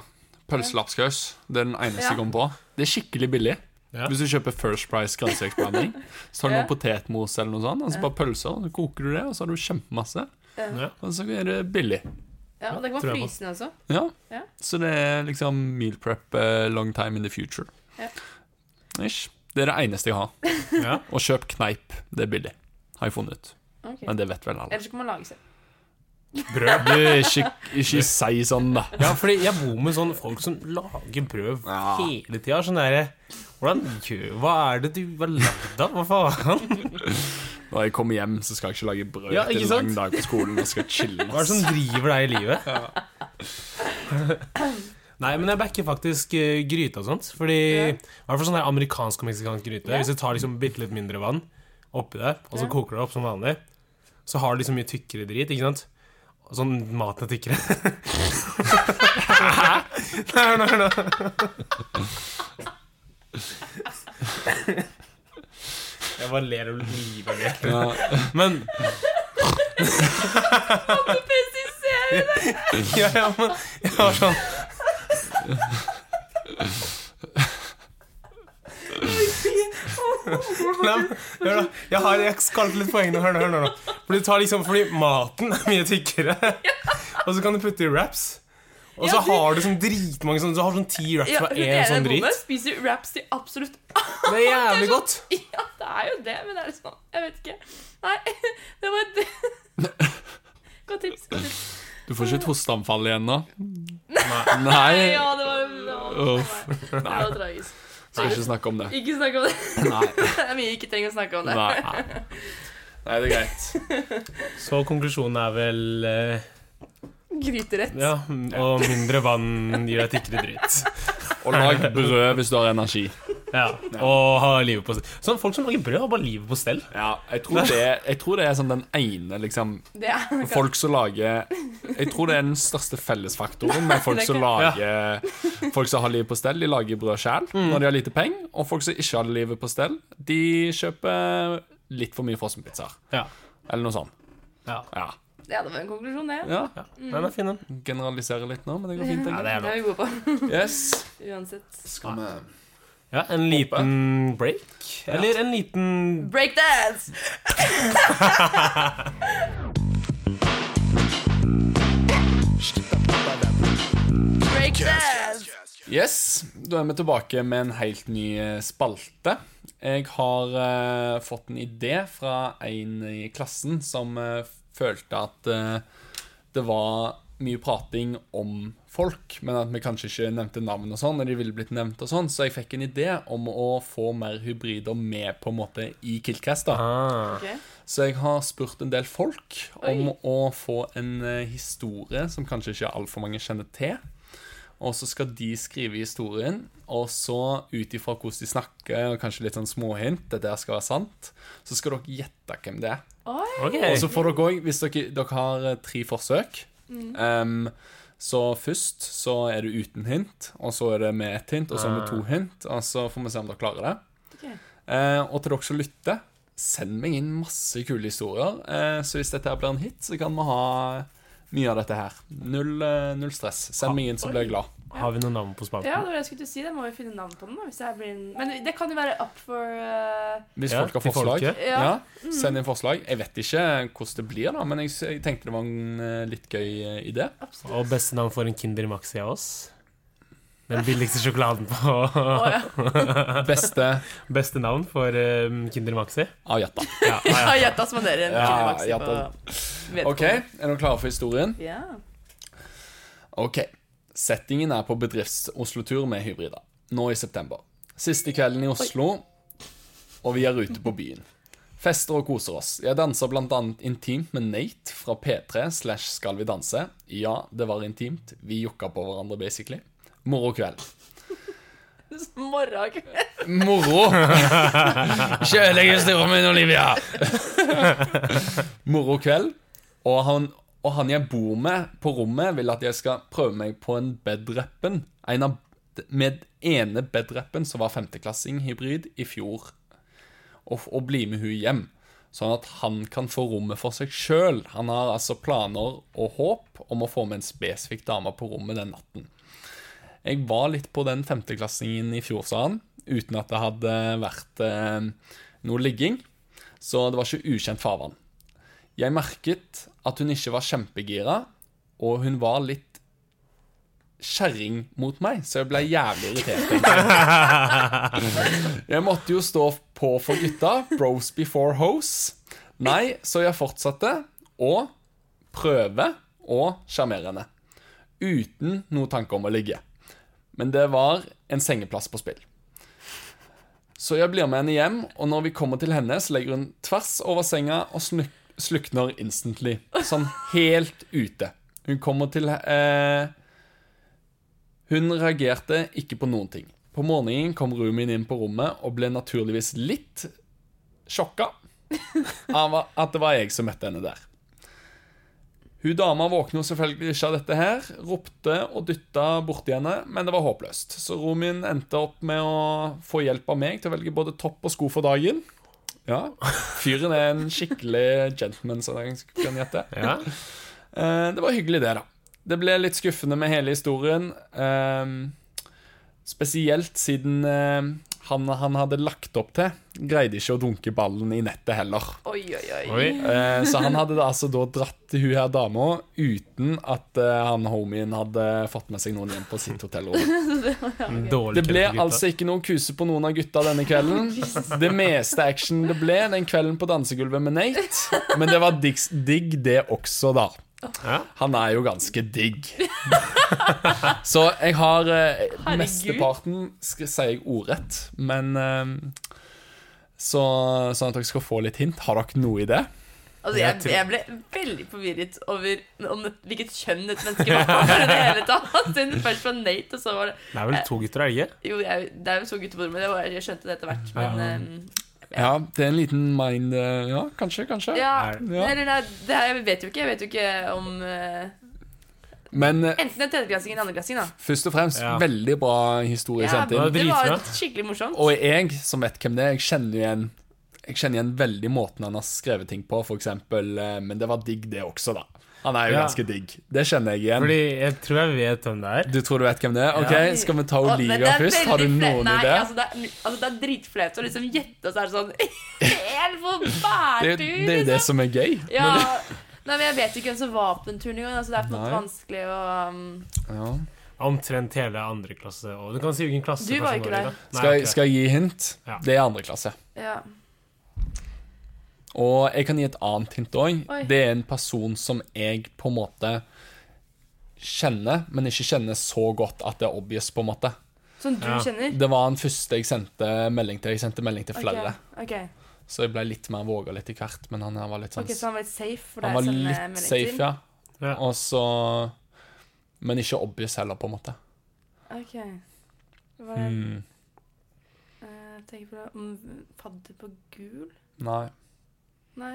S3: Pølselapskaus. Det er den eneste
S2: Ja.
S3: jeg kom på. Det er skikkelig billig.
S1: Ja.
S3: Hvis du kjøper First Price gransekekblanding, så tar du
S2: Ja.
S3: noe potetmos eller noe sånt, og så bare pølser, så koker du det, og så har du kjempemasse.
S1: Ja.
S3: Og så er det billig.
S2: Ja, og da kan
S1: tror
S2: man
S1: jeg på.
S2: fryse den også.
S3: Ja.
S2: Ja.
S3: Så det er liksom meal prep eh, long time in the future.
S2: Ja.
S3: Ish. Det er det eneste jeg har.
S1: Ja.
S3: Og kjøp kneip. Det er billig, har jeg funnet ut.
S2: Ok.
S3: Men det vet vel alle.
S2: Eller så kan man lage selv.
S1: brød.
S3: Du, ikke, ikke si sånn, da.
S1: Ja, fordi jeg bor med sånne folk som lager brød
S3: Ja.
S1: hele tida. Sånn derre Hvordan gjør Hva er det du har lagd av? Hva faen?
S3: Når jeg kommer hjem, så skal jeg ikke lage brød
S1: Ja,
S3: til
S1: ikke
S3: en
S1: sant?
S3: lang dag på skolen. Jeg skal chille.
S1: Hva er det som driver deg i livet? Nei, men jeg backer faktisk eh, gryte og sånt. Fordi I hvert fall sånn der amerikansk og meksikansk gryte.
S2: Ja.
S1: Hvis du tar liksom bitte litt mindre vann oppi der, og så
S2: Ja.
S1: koker du det opp som vanlig, så har du liksom mye tykkere drit, ikke sant? Og Sånn maten er tykkere. Nei, hør nå, hør nå. Jeg bare ler og livet av det.
S3: Ja.
S1: Men
S2: Presiserer det!
S1: Ja, ja, men jeg har sånn Nei, men, hør da. Jeg har jeg skal til litt poeng nå. Hør nå, hør nå. nå. For du tar liksom, fordi maten er mye tykkere, og så kan du putte i wraps. Og så
S2: Ja, du-
S1: har du sånn dritmange sånn Du har sånn ti wraps
S2: Ja,
S1: for
S2: hun
S1: én
S2: ene
S1: sånn
S2: jeg bor med,
S1: drit.
S2: spiser wraps til absolutt
S1: Det er jævlig godt.
S2: Ja, det er jo det, men det er sånn Jeg vet ikke. Nei, det var et Godt tips. Godt tips.
S3: Du får ikke et hosteanfall igjen nå?
S1: Nei.
S3: Nei.
S2: Ja, det var, det
S3: Uff.
S2: var, det var tragisk.
S3: Skal ikke snakke om det.
S2: Ikke snakk om det.
S3: Nei.
S2: Det er mye jeg ikke trenger å snakke om det.
S3: Nei. Nei, det er greit.
S1: Så konklusjonen er vel eh,
S2: Gryterett.
S1: Ja, og mindre vann gir deg tykkere dritt.
S3: Og lag brød hvis du har energi.
S1: Ja, og ha livet på stell. Sånn, folk som lager brød, har bare livet på stell.
S3: Ja, jeg tror det, jeg tror det er sånn den ene liksom
S2: Det er
S3: Folk som lager Jeg tror det er den største fellesfaktoren med folk
S2: det
S3: som
S2: kan-
S3: lager Folk som har livet på stell, de lager brød sjøl når de har lite penger. Og folk som ikke har livet på stell, de kjøper litt for mye frossenpizzaer.
S1: Ja.
S3: Eller noe sånt.
S1: Ja.
S3: Ja.
S2: Ja, det var en konklusjon, det.
S3: Ja,
S1: Ja, Mm. den er fin, den.
S3: Generalisere litt nå, men det går fint.
S1: Ja,
S3: tenker
S1: det er
S2: Det
S1: bra.
S2: er vi gode på.
S3: jeg. Yes.
S2: Uansett.
S4: Skal vi
S1: Ja, en liten break? Eller en liten
S2: Breakdance! Breakdance!
S3: Yes, Da er vi tilbake med en helt ny eh, spalte. Jeg har eh, fått en idé fra en i klassen som eh, følte at eh, det var mye prating om folk, men at vi kanskje ikke nevnte navn og sånn, og de ville blitt nevnt og sånn, så jeg fikk en idé om å få mer hybrider med på en måte i Kiltcast. da.
S1: ah.
S2: Ok.
S3: Så jeg har spurt en del folk
S2: Oi.
S3: om å få en eh, historie som kanskje ikke altfor mange kjenner til. Og så skal de skrive historien, og så ut ifra hvordan de snakker, og kanskje litt sånn småhint, det der skal være sant, så skal dere gjette hvem det er.
S2: Oi.
S1: Ok.
S3: Og så får dere òg, hvis dere, dere har eh, tre forsøk
S2: Mm.
S3: em, Så først så er det uten hint, og så er det med ett hint, og så med
S2: Ah.
S3: to hint, og så får vi se om dere klarer det.
S2: Ok.
S3: Eh, og til dere som lytter, send meg inn masse kule historier. Eh, så hvis dette her blir en hit, så kan vi ha mye av dette her. Null, eh, null stress. Send meg inn, så blir jeg glad.
S1: Har vi noen navn
S2: Ja,
S1: på
S2: det
S1: spalten?
S2: var det jeg skulle til å si. Det må vi finne navn på den. da, Hvis det her blir en... Men det kan jo være up for eh,
S3: Hvis
S1: Ja,
S3: folk har
S1: til
S3: forslag.
S1: folket.
S2: Ja.
S3: Send inn forslag. Jeg vet ikke hvordan det blir, da, men jeg, s- jeg tenkte det var en eh, litt gøy eh, idé.
S2: Absolutt.
S1: Og beste navn for en Kinder Maxi av oss? Den billigste sjokoladen på
S2: Å, ja.
S3: Beste
S1: Beste navn for um, Kinder Maxi?
S3: av Jatta.
S1: Ja,
S2: Jeg har gjetta som dere.
S3: Ja,
S2: kunne vokse
S3: ja,
S2: på
S3: OK,
S2: vedkommende.
S3: er dere klare for historien?
S2: Ja.
S3: Ok, settingen er på bedrifts-Oslo-tur med hybrider. Nå i september. Siste kvelden i Oslo, og vi er ute på byen. Fester og koser oss. Jeg danser blant annet intimt med Nate fra P3 slash Skal vi danse. Ja, det var intimt. Vi jokka på hverandre, basically. Moro kveld.
S2: Morgenkveld.
S3: Moro! Kjølegestyret min, Olivia! Moro kveld. Og han, og han jeg bor med på rommet, vil at jeg skal prøve meg på en bedrappen. En av, med ene bedrappen som var femteklassing hybrid i fjor. Og, og bli med hun hjem. Sånn at han kan få rommet for seg sjøl. Han har altså planer og håp om å få med en spesifikk dame på rommet den natten. Jeg var litt på den femteklassingen i fjor, sa han, uten at det hadde vært eh, noe ligging. Så det var ikke ukjent farvann. Jeg merket at hun ikke var kjempegira, og hun var litt kjerring mot meg, så jeg ble jævlig irritert. egentlig. Jeg måtte jo stå på for gutta. Bros before hoes. Nei, så jeg fortsatte å prøve å sjarmere henne. Uten noe tanke om å ligge. Men det var en sengeplass på spill. Så jeg blir med henne hjem, og når vi kommer til henne, så legger hun tvers over senga og snu- slukner instantly. Sånn helt ute. Hun kommer til eh, Hun reagerte ikke på noen ting. På morgenen kom roomien inn på rommet og ble naturligvis litt sjokka av at det var jeg som møtte henne der. Hun dama våkner jo selvfølgelig ikke av dette her, ropte og dytta borti henne, men det var håpløst. Så Romin endte opp med å få hjelp av meg til å velge både topp og sko for dagen. Ja, Fyren er en skikkelig gentleman, som jeg kan gjette.
S1: ja.
S3: Eh, Det var hyggelig, det, da. Det ble litt skuffende med hele historien. ehm, Spesielt siden eh, han han hadde lagt opp til, greide ikke å dunke ballen i nettet heller.
S2: Oi, oi, oi.
S1: Oi.
S3: Eh, Så han hadde da, altså da dratt til hun her dama uten at eh, han homien hadde fått med seg noen hjem på sitt hotellrom.
S1: En Dårlig
S3: Det ble
S1: kødd, gutta.
S3: altså ikke noe kuse på noen av gutta denne kvelden. Det meste action det ble den kvelden på dansegulvet med Nate. Men det var digg, digg det også, da.
S1: Ja.
S3: Han er jo ganske digg. Så jeg har eh,
S2: Herregud.
S3: Mesteparten sk- sier jeg ordrett, men eh, så, Sånn at dere skal få litt hint. Har dere noe i det?
S2: Altså,
S1: Jeg
S2: jeg,
S1: tror-
S2: jeg ble veldig forvirret over om det- hvilket kjønn et menneske var. i det hele tatt. Siden Først var Nate, og så var det
S1: Det er vel to gutter, er det ikke?
S2: Jo, jeg, det er jo så guttebordet, men det var, jeg skjønte det etter hvert. Men eh,
S3: Ja, det er en liten mind eh, Ja, kanskje, kanskje.
S2: ja,
S3: Ja.
S2: Eller nei, det her jeg vet jo ikke. Jeg vet jo ikke om eh,
S3: Men eh,
S2: Enten en tredjeklassing eller en andreklassing, da.
S3: først og fremst,
S1: Ja.
S3: veldig bra historie
S2: Ja,
S3: sendt
S2: det
S1: var
S3: inn.
S2: var
S1: dritbra.
S2: skikkelig morsomt.
S3: Og jeg, som vet hvem det er, jeg kjenner jo igjen Jeg kjenner igjen veldig måten han har skrevet ting på, for eksempel, eh, men det var digg, det også, da. Han er jo
S1: Ja.
S3: ganske digg. Det kjenner jeg igjen.
S1: Fordi jeg tror jeg vet hvem det er.
S3: Du tror du vet hvem det er? Ok, Skal vi ta
S2: Å, men det
S3: Olivia
S2: er
S3: først? Har du
S2: veldig flaut.
S3: noen
S2: Nei,
S3: idé?
S2: Altså, det er, altså, det er dritflaut å liksom gjette, og så er det sånn Helt
S3: Det,
S2: forferdelig!
S3: er jo- det er jo det som er gøy.
S2: Ja. Nei, men jeg vet ikke hvem som var på den turen engang. Altså, det er på en måte
S3: Nei.
S2: vanskelig å um,
S3: Ja.
S1: Omtrent hele andre klasse. Og du kan si hvilken klasse
S2: Du var
S1: personen
S2: ikke
S1: i,
S2: der.
S1: da. Nei,
S3: Skal, jeg-
S1: jeg var ikke
S3: skal jeg gi hint?
S1: Ja.
S3: Det er andre klasse.
S2: Ja.
S3: Og jeg kan gi et annet hint òg.
S2: Oi.
S3: Det er en person som jeg på en måte kjenner, men ikke kjenner så godt at det er obvious, på en måte.
S2: Som du
S1: Ja.
S2: kjenner?
S3: Det var han første jeg sendte melding til. Jeg sendte melding til
S2: Ok,
S3: flere.
S2: ok.
S3: Så jeg ble litt mer våga litt i hvert, men han her var litt sånn
S2: Ok, Så han var litt safe? For sånn, deg
S3: Han var
S2: å sende
S3: litt
S2: melding
S3: safe,
S2: til?
S3: ja.
S1: Ja.
S3: Og så Men ikke obvious heller, på en måte.
S2: Ok. Hva er det?
S3: Mm.
S2: Eh, jeg tenker på det. Om padder på gul?
S3: Nei.
S2: Nei.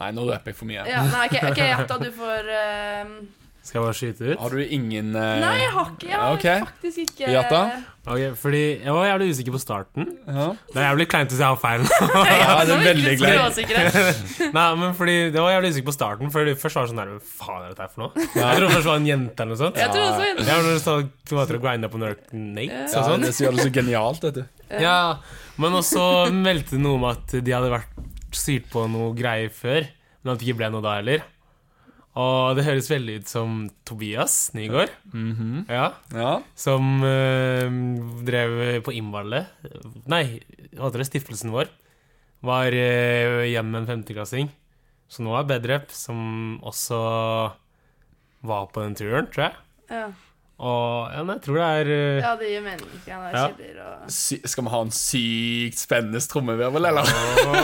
S3: Nei, nå røper jeg for mye.
S2: Ja, nei, ok, ok, Jatta, du får eh,
S1: der. Skal jeg bare skyte ut?
S3: Har du ingen eh,
S2: Nei, jeg har ikke. Jeg har
S3: ok.
S2: faktisk ikke
S3: Jatta?
S1: Ok, fordi jeg var jævlig usikker på starten.
S3: Ja.
S1: Det er jævlig kleint hvis jeg har feil.
S3: ja, det er veldig glad.
S2: glad.
S1: Nei, men fordi Det var jævlig usikker på starten, for først var det sånn der Hva faen er dette her for noe? Jeg trodde først det var en jente eller noe sånt.
S2: Jeg tror også
S1: Jeg var når du sa du var til å grinde på Nerk Nates
S3: Ja,
S1: og sånn.
S3: det som gjør det så genialt, vet du.
S1: Ja, Men også meldte noe om at de hadde vært syrt på noe greier før, men at det ikke ble noe da heller. Og det høres veldig ut som Tobias Nygaard, ja,
S3: Mhm. Ja.
S1: som eh, drev på Imvalle Nei, hva heter det, stiftelsen vår. Var uh, hjemme med en femteklassing, som nå er bedrep, som også var på den turen, tror jeg.
S2: Ja.
S1: Og ja, nei, jeg tror det er eh,
S2: ja, det gir mening. ikke? Han er
S1: Ja.
S2: kjeder og
S3: Sy skal vi ha en sykt spennende trommevirvel, eller?
S1: Åh.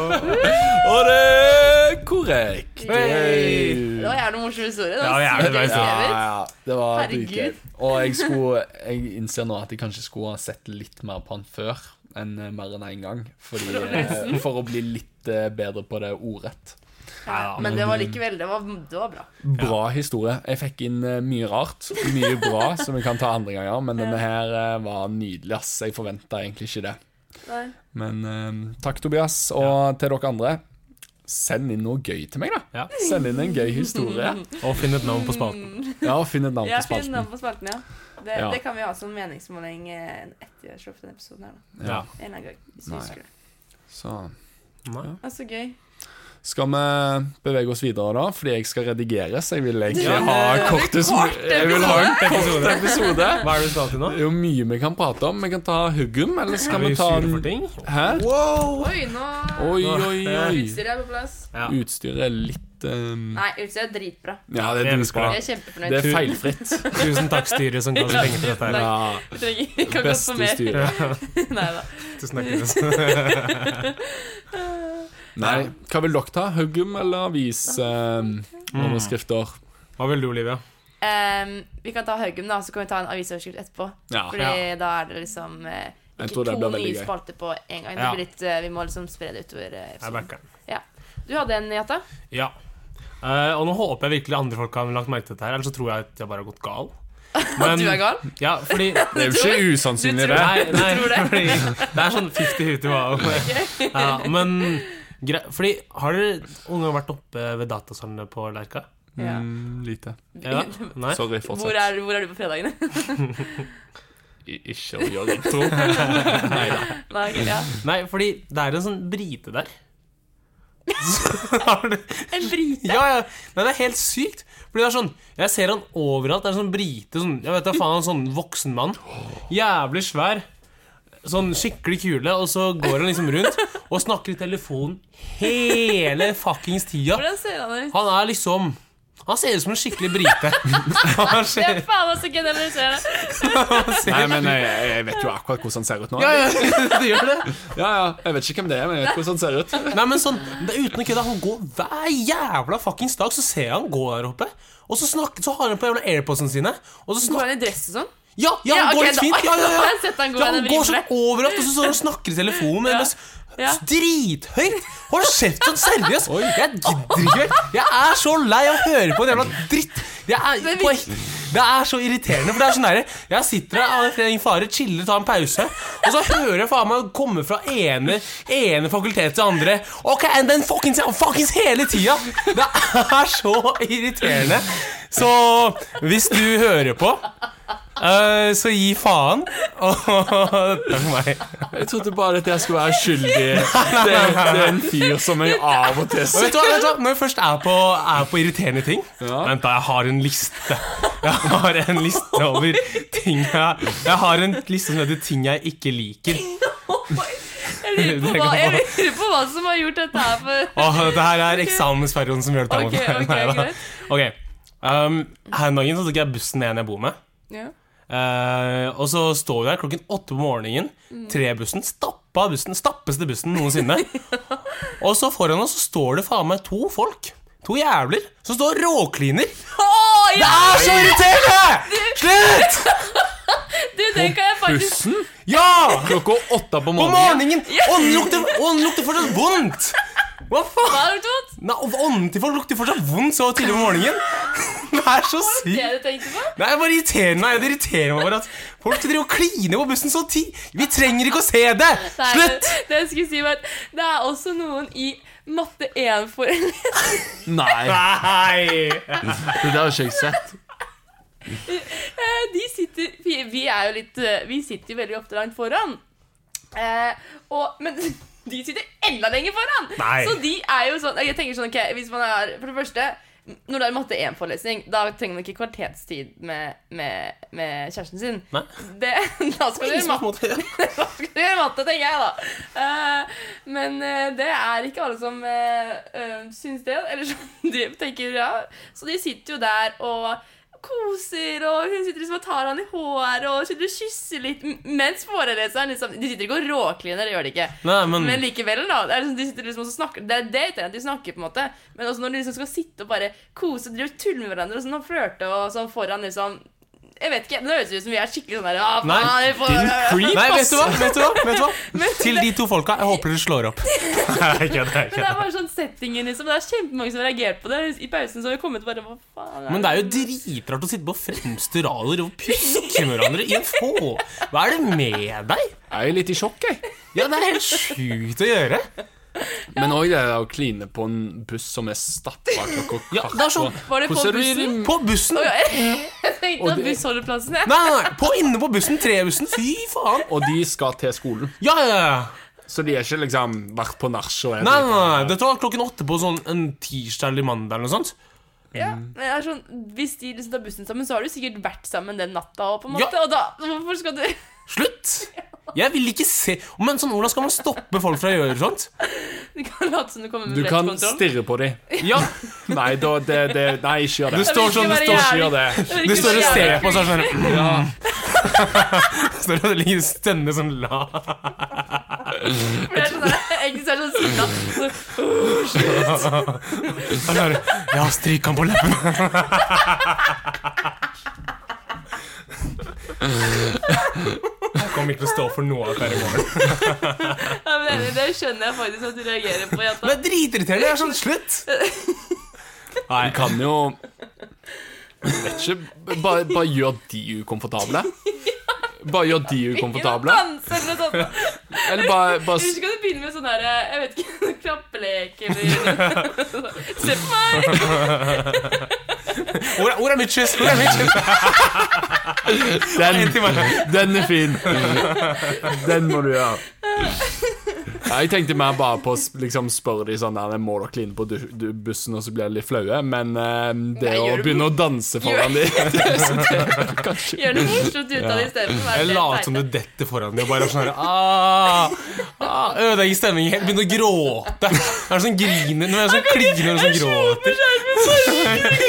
S3: Og det er korrekt.
S1: Hey!
S2: Det var jævlig morsom historie. Det
S1: Ja, jævlig bra
S2: sykt
S1: historie.
S2: skrevet.
S3: Ja, det var
S2: Herregud.
S3: dritgøy. Og jeg, skulle, jeg innser nå at jeg kanskje skulle ha sett litt mer på han før enn eh, mer enn én gang. Fordi, eh, for å bli litt eh, bedre på det ordrett.
S1: Ja,
S2: Men det var likevel det var, det var bra.
S3: Bra historie. Jeg fikk inn eh, mye rart. Mye bra som vi kan ta andre ganger, men denne her eh, var nydelig, ass. Jeg forventa egentlig ikke det.
S2: Nei.
S3: Men eh, takk, Tobias, og til dere andre. Send inn noe gøy til meg, da.
S1: Ja.
S3: Send inn en gøy historie.
S1: Og finn et navn på spalten.
S3: Ja, og finn et navn
S2: Ja, fin
S3: på spalten.
S2: navn på spalten, ja. Det,
S3: Ja.
S2: det kan vi ha som meningsmåling eh, etter jeg slår opp denne episoden. her da.
S1: Ja.
S2: En eller annen gang, hvis vi
S3: Nei.
S2: husker det.
S3: Så
S1: Nei.
S2: Det er så gøy.
S3: Skal vi bevege oss videre da? Fordi jeg skal redigere, så jeg vil egentlig
S1: Ja,
S3: ha
S2: det er
S3: kortest
S2: kort
S3: Jeg vil ha en
S1: Kort
S3: kort
S1: episode.
S3: episode.
S1: Hva er det du skal til nå?
S3: Det er jo mye vi kan prate om. Vi kan ta huggum, eller så
S1: Skal
S3: kan
S1: vi
S3: vi ta
S1: sure for
S3: en
S1: ting?
S3: Hæ?
S2: Oi, nå
S3: Oi, Mm. oi, oi.
S2: Utstyret er på plass.
S1: Ja.
S3: Utstyret er litt eh,
S2: Nei, utstyret er dritbra.
S3: Ja, det er dritbra.
S2: Jeg er kjempefornøyd.
S3: Det er feilfritt.
S1: Tusen takk, styret, som ga oss penger til dette. her
S3: Ja,
S2: Vi trenger- vi kan godt få
S3: beste
S2: mer.
S3: styret.
S2: Nei da.
S1: Tusen takk, Jonas.
S3: Nei, hva vil dere ta? Huggum eller avis? Eh,
S1: Mm.
S3: underskrifter?
S1: Hva vil du, Olivia?
S2: Ehm, vi kan ta Haugum, da, så kan vi ta en avisoverskrift etterpå.
S3: Ah, Ja.
S2: Fordi da er det liksom eh,
S3: Jeg
S2: ikke
S3: tror det
S2: to
S3: blir veldig
S2: nye
S3: gøy.
S2: spalter på en gang. Det
S1: Ja.
S2: blir litt, eh, vi må liksom spre det utover eh,
S1: Jeg
S2: episoden.
S1: backer.
S2: Du hadde en, Jata?
S1: Ja. Eh, og nå håper jeg virkelig andre folk har lagt merke til dette, her ellers så tror jeg at jeg bare har gått gal.
S2: Du er gal?
S1: Ja, fordi
S3: Det er jo ikke usannsynlig, det.
S1: Nei, nei
S2: tror det?
S1: fordi det er sånn 50-50 hva ja, Men gre Fordi har dere unger vært oppe ved datasalene på Lerka?
S2: Ja.
S3: Mm, lite.
S1: Ja? Nei?
S3: Sorry,
S2: Hvor,
S3: fortsett.
S2: er, hvor er du på fredagene?
S3: I- Ikke å gjøre intro. Nei da.
S2: Nei, ok, ja.
S1: Nei, fordi det er en sånn brite der. Så har du-
S2: En brite?
S1: ja, ja. Nei, det er helt sykt. Fordi det er sånn Jeg ser han overalt. Det er en sånn brite sånn, Jeg vet da faen, en sånn voksen mann. Jævlig svær. Sånn skikkelig kule, og så går han liksom rundt og snakker i telefonen hele fuckings tida.
S2: Hvordan ser han ut?
S1: Han er liksom Han ser ut som en skikkelig brite. Han
S2: Det
S1: ser,
S2: er faen meg så generaliserende!
S1: han ser
S3: Nei, men jeg, jeg vet jo akkurat hvordan han ser ut nå.
S1: Ja, ja, det gjør det.
S3: Ja, ja, Jeg vet ikke hvem det er, men jeg vet hvordan han ser ut.
S1: Nei, men sånn, det er uten å kødde, han går hver jævla fuckings dag, så ser jeg han gå der oppe. Og så, snakker, så har han på jævla airpodsene sine, og så
S2: Går
S1: snakker
S2: han i dress og sånn?
S1: Ja, ja, han
S2: Ja, ok,
S1: går litt
S2: da-
S1: fint! Ja, ja,
S2: da har
S1: ja.
S2: jeg sett han gå
S1: ja,
S2: i
S1: han
S2: den
S1: går sånn
S2: brille.
S1: overalt, og så står han og snakker i telefonen. Ja.
S2: Ja.
S1: Drithøyt! Hold kjeft sånn seriøst! Jeg gidder ikke! Jeg er så lei av å høre på en jævla dritt! Jeg er
S2: Men
S1: på
S2: vi-
S1: Det er så irriterende. For det er sånn der, Jeg sitter her, aner ikke ingen fare, chiller, tar en pause, og så hører jeg faen meg komme fra ene, ene fakultet til andre Ok, and then fuckings, fuckings hele tida! Det er så irriterende. Så hvis du hører på, eh, så gi faen. Og takk for meg.
S3: Jeg trodde bare at jeg skulle være skyldig. Det, det er en fyr som jeg av og til
S1: Og
S3: ser.
S1: vet du hva, vet du hva? Når jeg først er på, er på irriterende ting
S3: Ja.
S1: Vent da, jeg har en liste Jeg har en liste over ting jeg Jeg har en liste som heter ting jeg ikke liker
S2: Jeg lurer på
S1: Det
S2: hva,
S1: kan
S2: jeg lurer på hva som har gjort dette her for
S1: Åh, dette her er eksamensperioden som gjør det
S2: Ok, ok,
S1: Neida.
S2: greit.
S1: Ok, um, her en dagen så tok jeg bussen med en jeg bor med
S2: Ja.
S1: Eh, og så står vi der klokken åtte på morgenen. Trebussen. Stappa bussen. Stappeste bussen noensinne. Og så foran oss så står det faen meg to folk. To jævler som står og råkliner.
S2: Å, ja!
S1: Det er så irriterende! Slutt!
S2: Du, den kan jeg faktisk
S3: Bussen
S1: Ja!
S3: klokka åtte på
S1: På
S3: morgenen.
S1: morgenen! Ånden lukter, ånden lukter fortsatt vondt! Hva faen?
S2: Hva har du gjort?
S1: Nei, Ånden til folk lukter fortsatt vondt så tidlig på morgenen. Det er så sykt.
S2: Det du tenkte på?
S1: Nei, jeg bare irriterer meg. Det irriterer meg bare at folk driver og kliner på bussen så ti... Vi trenger ikke å se det!
S2: Nei,
S1: Slutt!
S2: Det, det jeg skulle si var at det er også noen i matte 1 for
S3: Nei,
S1: Nei!
S3: det der har ikke jeg sett.
S2: Eh, De sitter Vi, vi er jo litt eh, Vi sitter jo veldig ofte langt foran. Eh, og, men de sitter enda lenger foran!
S1: Nei.
S2: Så de er jo sånn Jeg tenker sånn, ok, hvis man er For det første når det er matte 1-forelesning, da trenger man ikke kvalitetstid med, med, med kjæresten sin.
S1: Nei.
S2: Det, da skal du gjøre matte. Da skal du gjøre matte, tenker jeg da. Eh, men eh, det er ikke alle som eh, eh, syns det. Eller som de tenker ja. Så de sitter jo der og koser, og hun sitter liksom og tar han i håret og sitter og kysser litt m- mens foreleseren liksom De sitter ikke og råkliner, det gjør de ikke.
S1: Nei, men
S2: Men likevel, da. Det er liksom, de sitter liksom og snakker Det er det jeg tenker at de snakker, på en måte. Men også når de liksom skal sitte og bare kose drive og tulle med hverandre og sånn og flørte og sånn foran liksom Jeg vet ikke. Det høres ut som vi er skikkelig sånn der «Ah,
S1: Nei,
S2: faen, vi får-
S1: din creep, Nei, vet du hva? Vet du hva? Vet du hva?
S2: Men-
S1: Til de to folka, jeg håper dere slår opp. Nei, kødd, jeg
S2: Men det er
S1: kødder.
S2: bare sånn settingen, liksom. Det er kjempemange som har reagert på det. I pausen så har vi kommet bare Hva faen
S1: Men det er jo dritrart å sitte på fremste rader og pjuske med hverandre i en få. Hva er det med deg?
S3: Jeg er litt i sjokk, jeg.
S1: Ja, det er helt sjukt å gjøre.
S3: Men òg det der å kline på en buss som er stappa klokka
S1: Ja, det er sånn
S2: Var det på
S3: Hvordan er det-
S2: bussen?
S1: På bussen.
S2: Å,
S1: Nei,
S2: ja, Jeg tenkte
S3: Og
S2: at
S3: det-
S2: bussholdeplassen, jeg.
S1: nei, nei. På, inne på bussen. Trebussen. Fy faen.
S3: Og de skal til skolen,
S1: Ja, ja, ja.
S3: så de er ikke liksom vært på nach og er
S1: Nei, nei, nei. Dette var klokken åtte på sånn en tirsdag eller mandag eller noe sånt.
S2: Ja, men jeg er sånn, hvis de liksom tar bussen sammen, så har du sikkert vært sammen den natta òg, på en
S1: Ja.
S2: måte. Og da Hvorfor skal du
S1: Slutt! Jeg vil ikke se Men sånn, hvordan skal man stoppe folk fra å gjøre sånt?
S2: Du kan late som du kommer med
S3: Du kan
S2: billettkontroll.
S3: stirre på dem.
S1: Ja,
S3: Nei, da, det, det, nei, ikke gjør
S1: Du
S3: det.
S1: står sånn, du står
S3: Ikke gjør det.
S1: Du står og ser på sånn sånn
S3: Ja.
S1: Står og ligger stønner sånn la
S2: Egentlig så er det sånn sinna. Så,
S1: Han bare, Ja, stryk han på leppen Jeg kommer ikke til å stå for noe av dette her i morgen
S2: Ja, men det- Det skjønner jeg faktisk at du reagerer på,
S1: Det
S2: jenta.
S1: er dritirriterende, jeg er sånn slutt
S3: Nei, du kan jo Vet ikke. Bare, bare gjør de ukomfortable. Bare gjør de ukomfortable.
S2: Danse eller noe sånt.
S3: Eller bare, bare
S2: Eller så
S3: s-
S2: kan du begynne med sånn der Jeg vet ikke, klappelek eller Se på meg!
S1: Hvor er- hvor er Mitches? Hvor er Mitches?
S3: den,
S1: Til meg.
S3: den er fin. Den må du gjøre. Ja, jeg tenkte mer bare på å sp- liksom, spørre de sånn der, Må dere kline på du, du, bussen, og så blir de litt flaue? Men eh, det
S2: Nei,
S3: å
S2: gjør det-
S3: begynne å danse foran de
S2: Gjør noe morsomt ut av det isteden. vær
S1: Jeg
S2: helt
S1: later som du
S2: teit.
S1: detter foran dem og bare er sånn her, ah, ah, Ødelegger stemningen helt. Begynner å gråte. Det er sånn griner Når jeg sånn kliner og sånn gråter. Det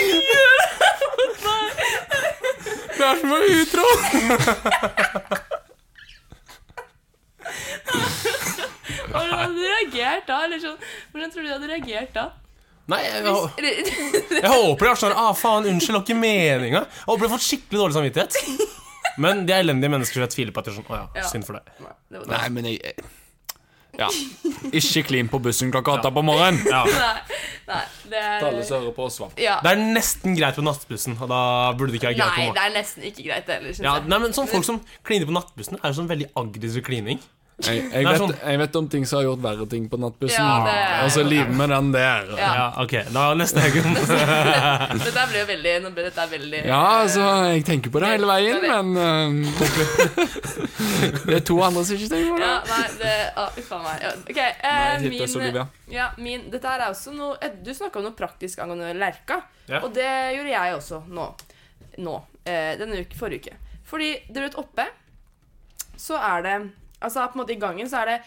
S1: er som å være utro.
S2: Hvordan hadde du reagert da? Eller sånn, hvordan tror du du hadde reagert da?
S1: Nei, jeg, jeg,
S2: Eller-
S1: jeg håper det er sånn Ah, faen, unnskyld, det var ikke meninga. Jeg håper jeg har fått skikkelig dårlig samvittighet. Men de er elendige mennesker, så jeg tviler på at det er sånn Å
S2: Ja.
S1: ja, synd for deg.
S2: Det var
S3: Nei, eh, men jeg Ja. Ikke klin på bussen klokka åtte på morgenen.
S1: Ja.
S2: Nei, Nei, det er
S3: Til alle som hører på Svamp.
S2: ja.
S1: Det er nesten greit på nattbussen, og da burde det ikke være greit
S2: Nei,
S1: på
S2: det
S1: meg.
S2: er nesten ikke greit heller, syns
S1: Ja,
S2: jeg.
S1: nei, men sånn Folk som kliner på nattbussen, er jo sånn veldig aggressiv klining.
S3: Jeg, jeg,
S1: Nei,
S3: vet,
S1: sånn.
S3: jeg vet om ting som har gjort verre ting på nattbussen.
S2: Ja, det er-
S3: Og så liv med den der.
S2: Ja.
S1: Ja, ok, da neste helg.
S2: Dette blir jo veldig Nå blir dette veldig
S3: Ja, altså, jeg tenker på det hele veien, men eh, Det er to andre som ikke tenker på det.
S2: Ja, nei, det ah, Uff a meg. Ja, OK.
S3: Nei,
S2: Eh,
S3: helt det, så
S2: min,
S3: Olivia.
S2: ja, min Dette her er også noe eh, Du snakka om noe praktisk angående lerka.
S1: Ja.
S2: Og det gjorde jeg også nå. Nå. Eh, denne uke, forrige uke. Fordi dere vet oppe så er det Altså på en måte i gangen så er det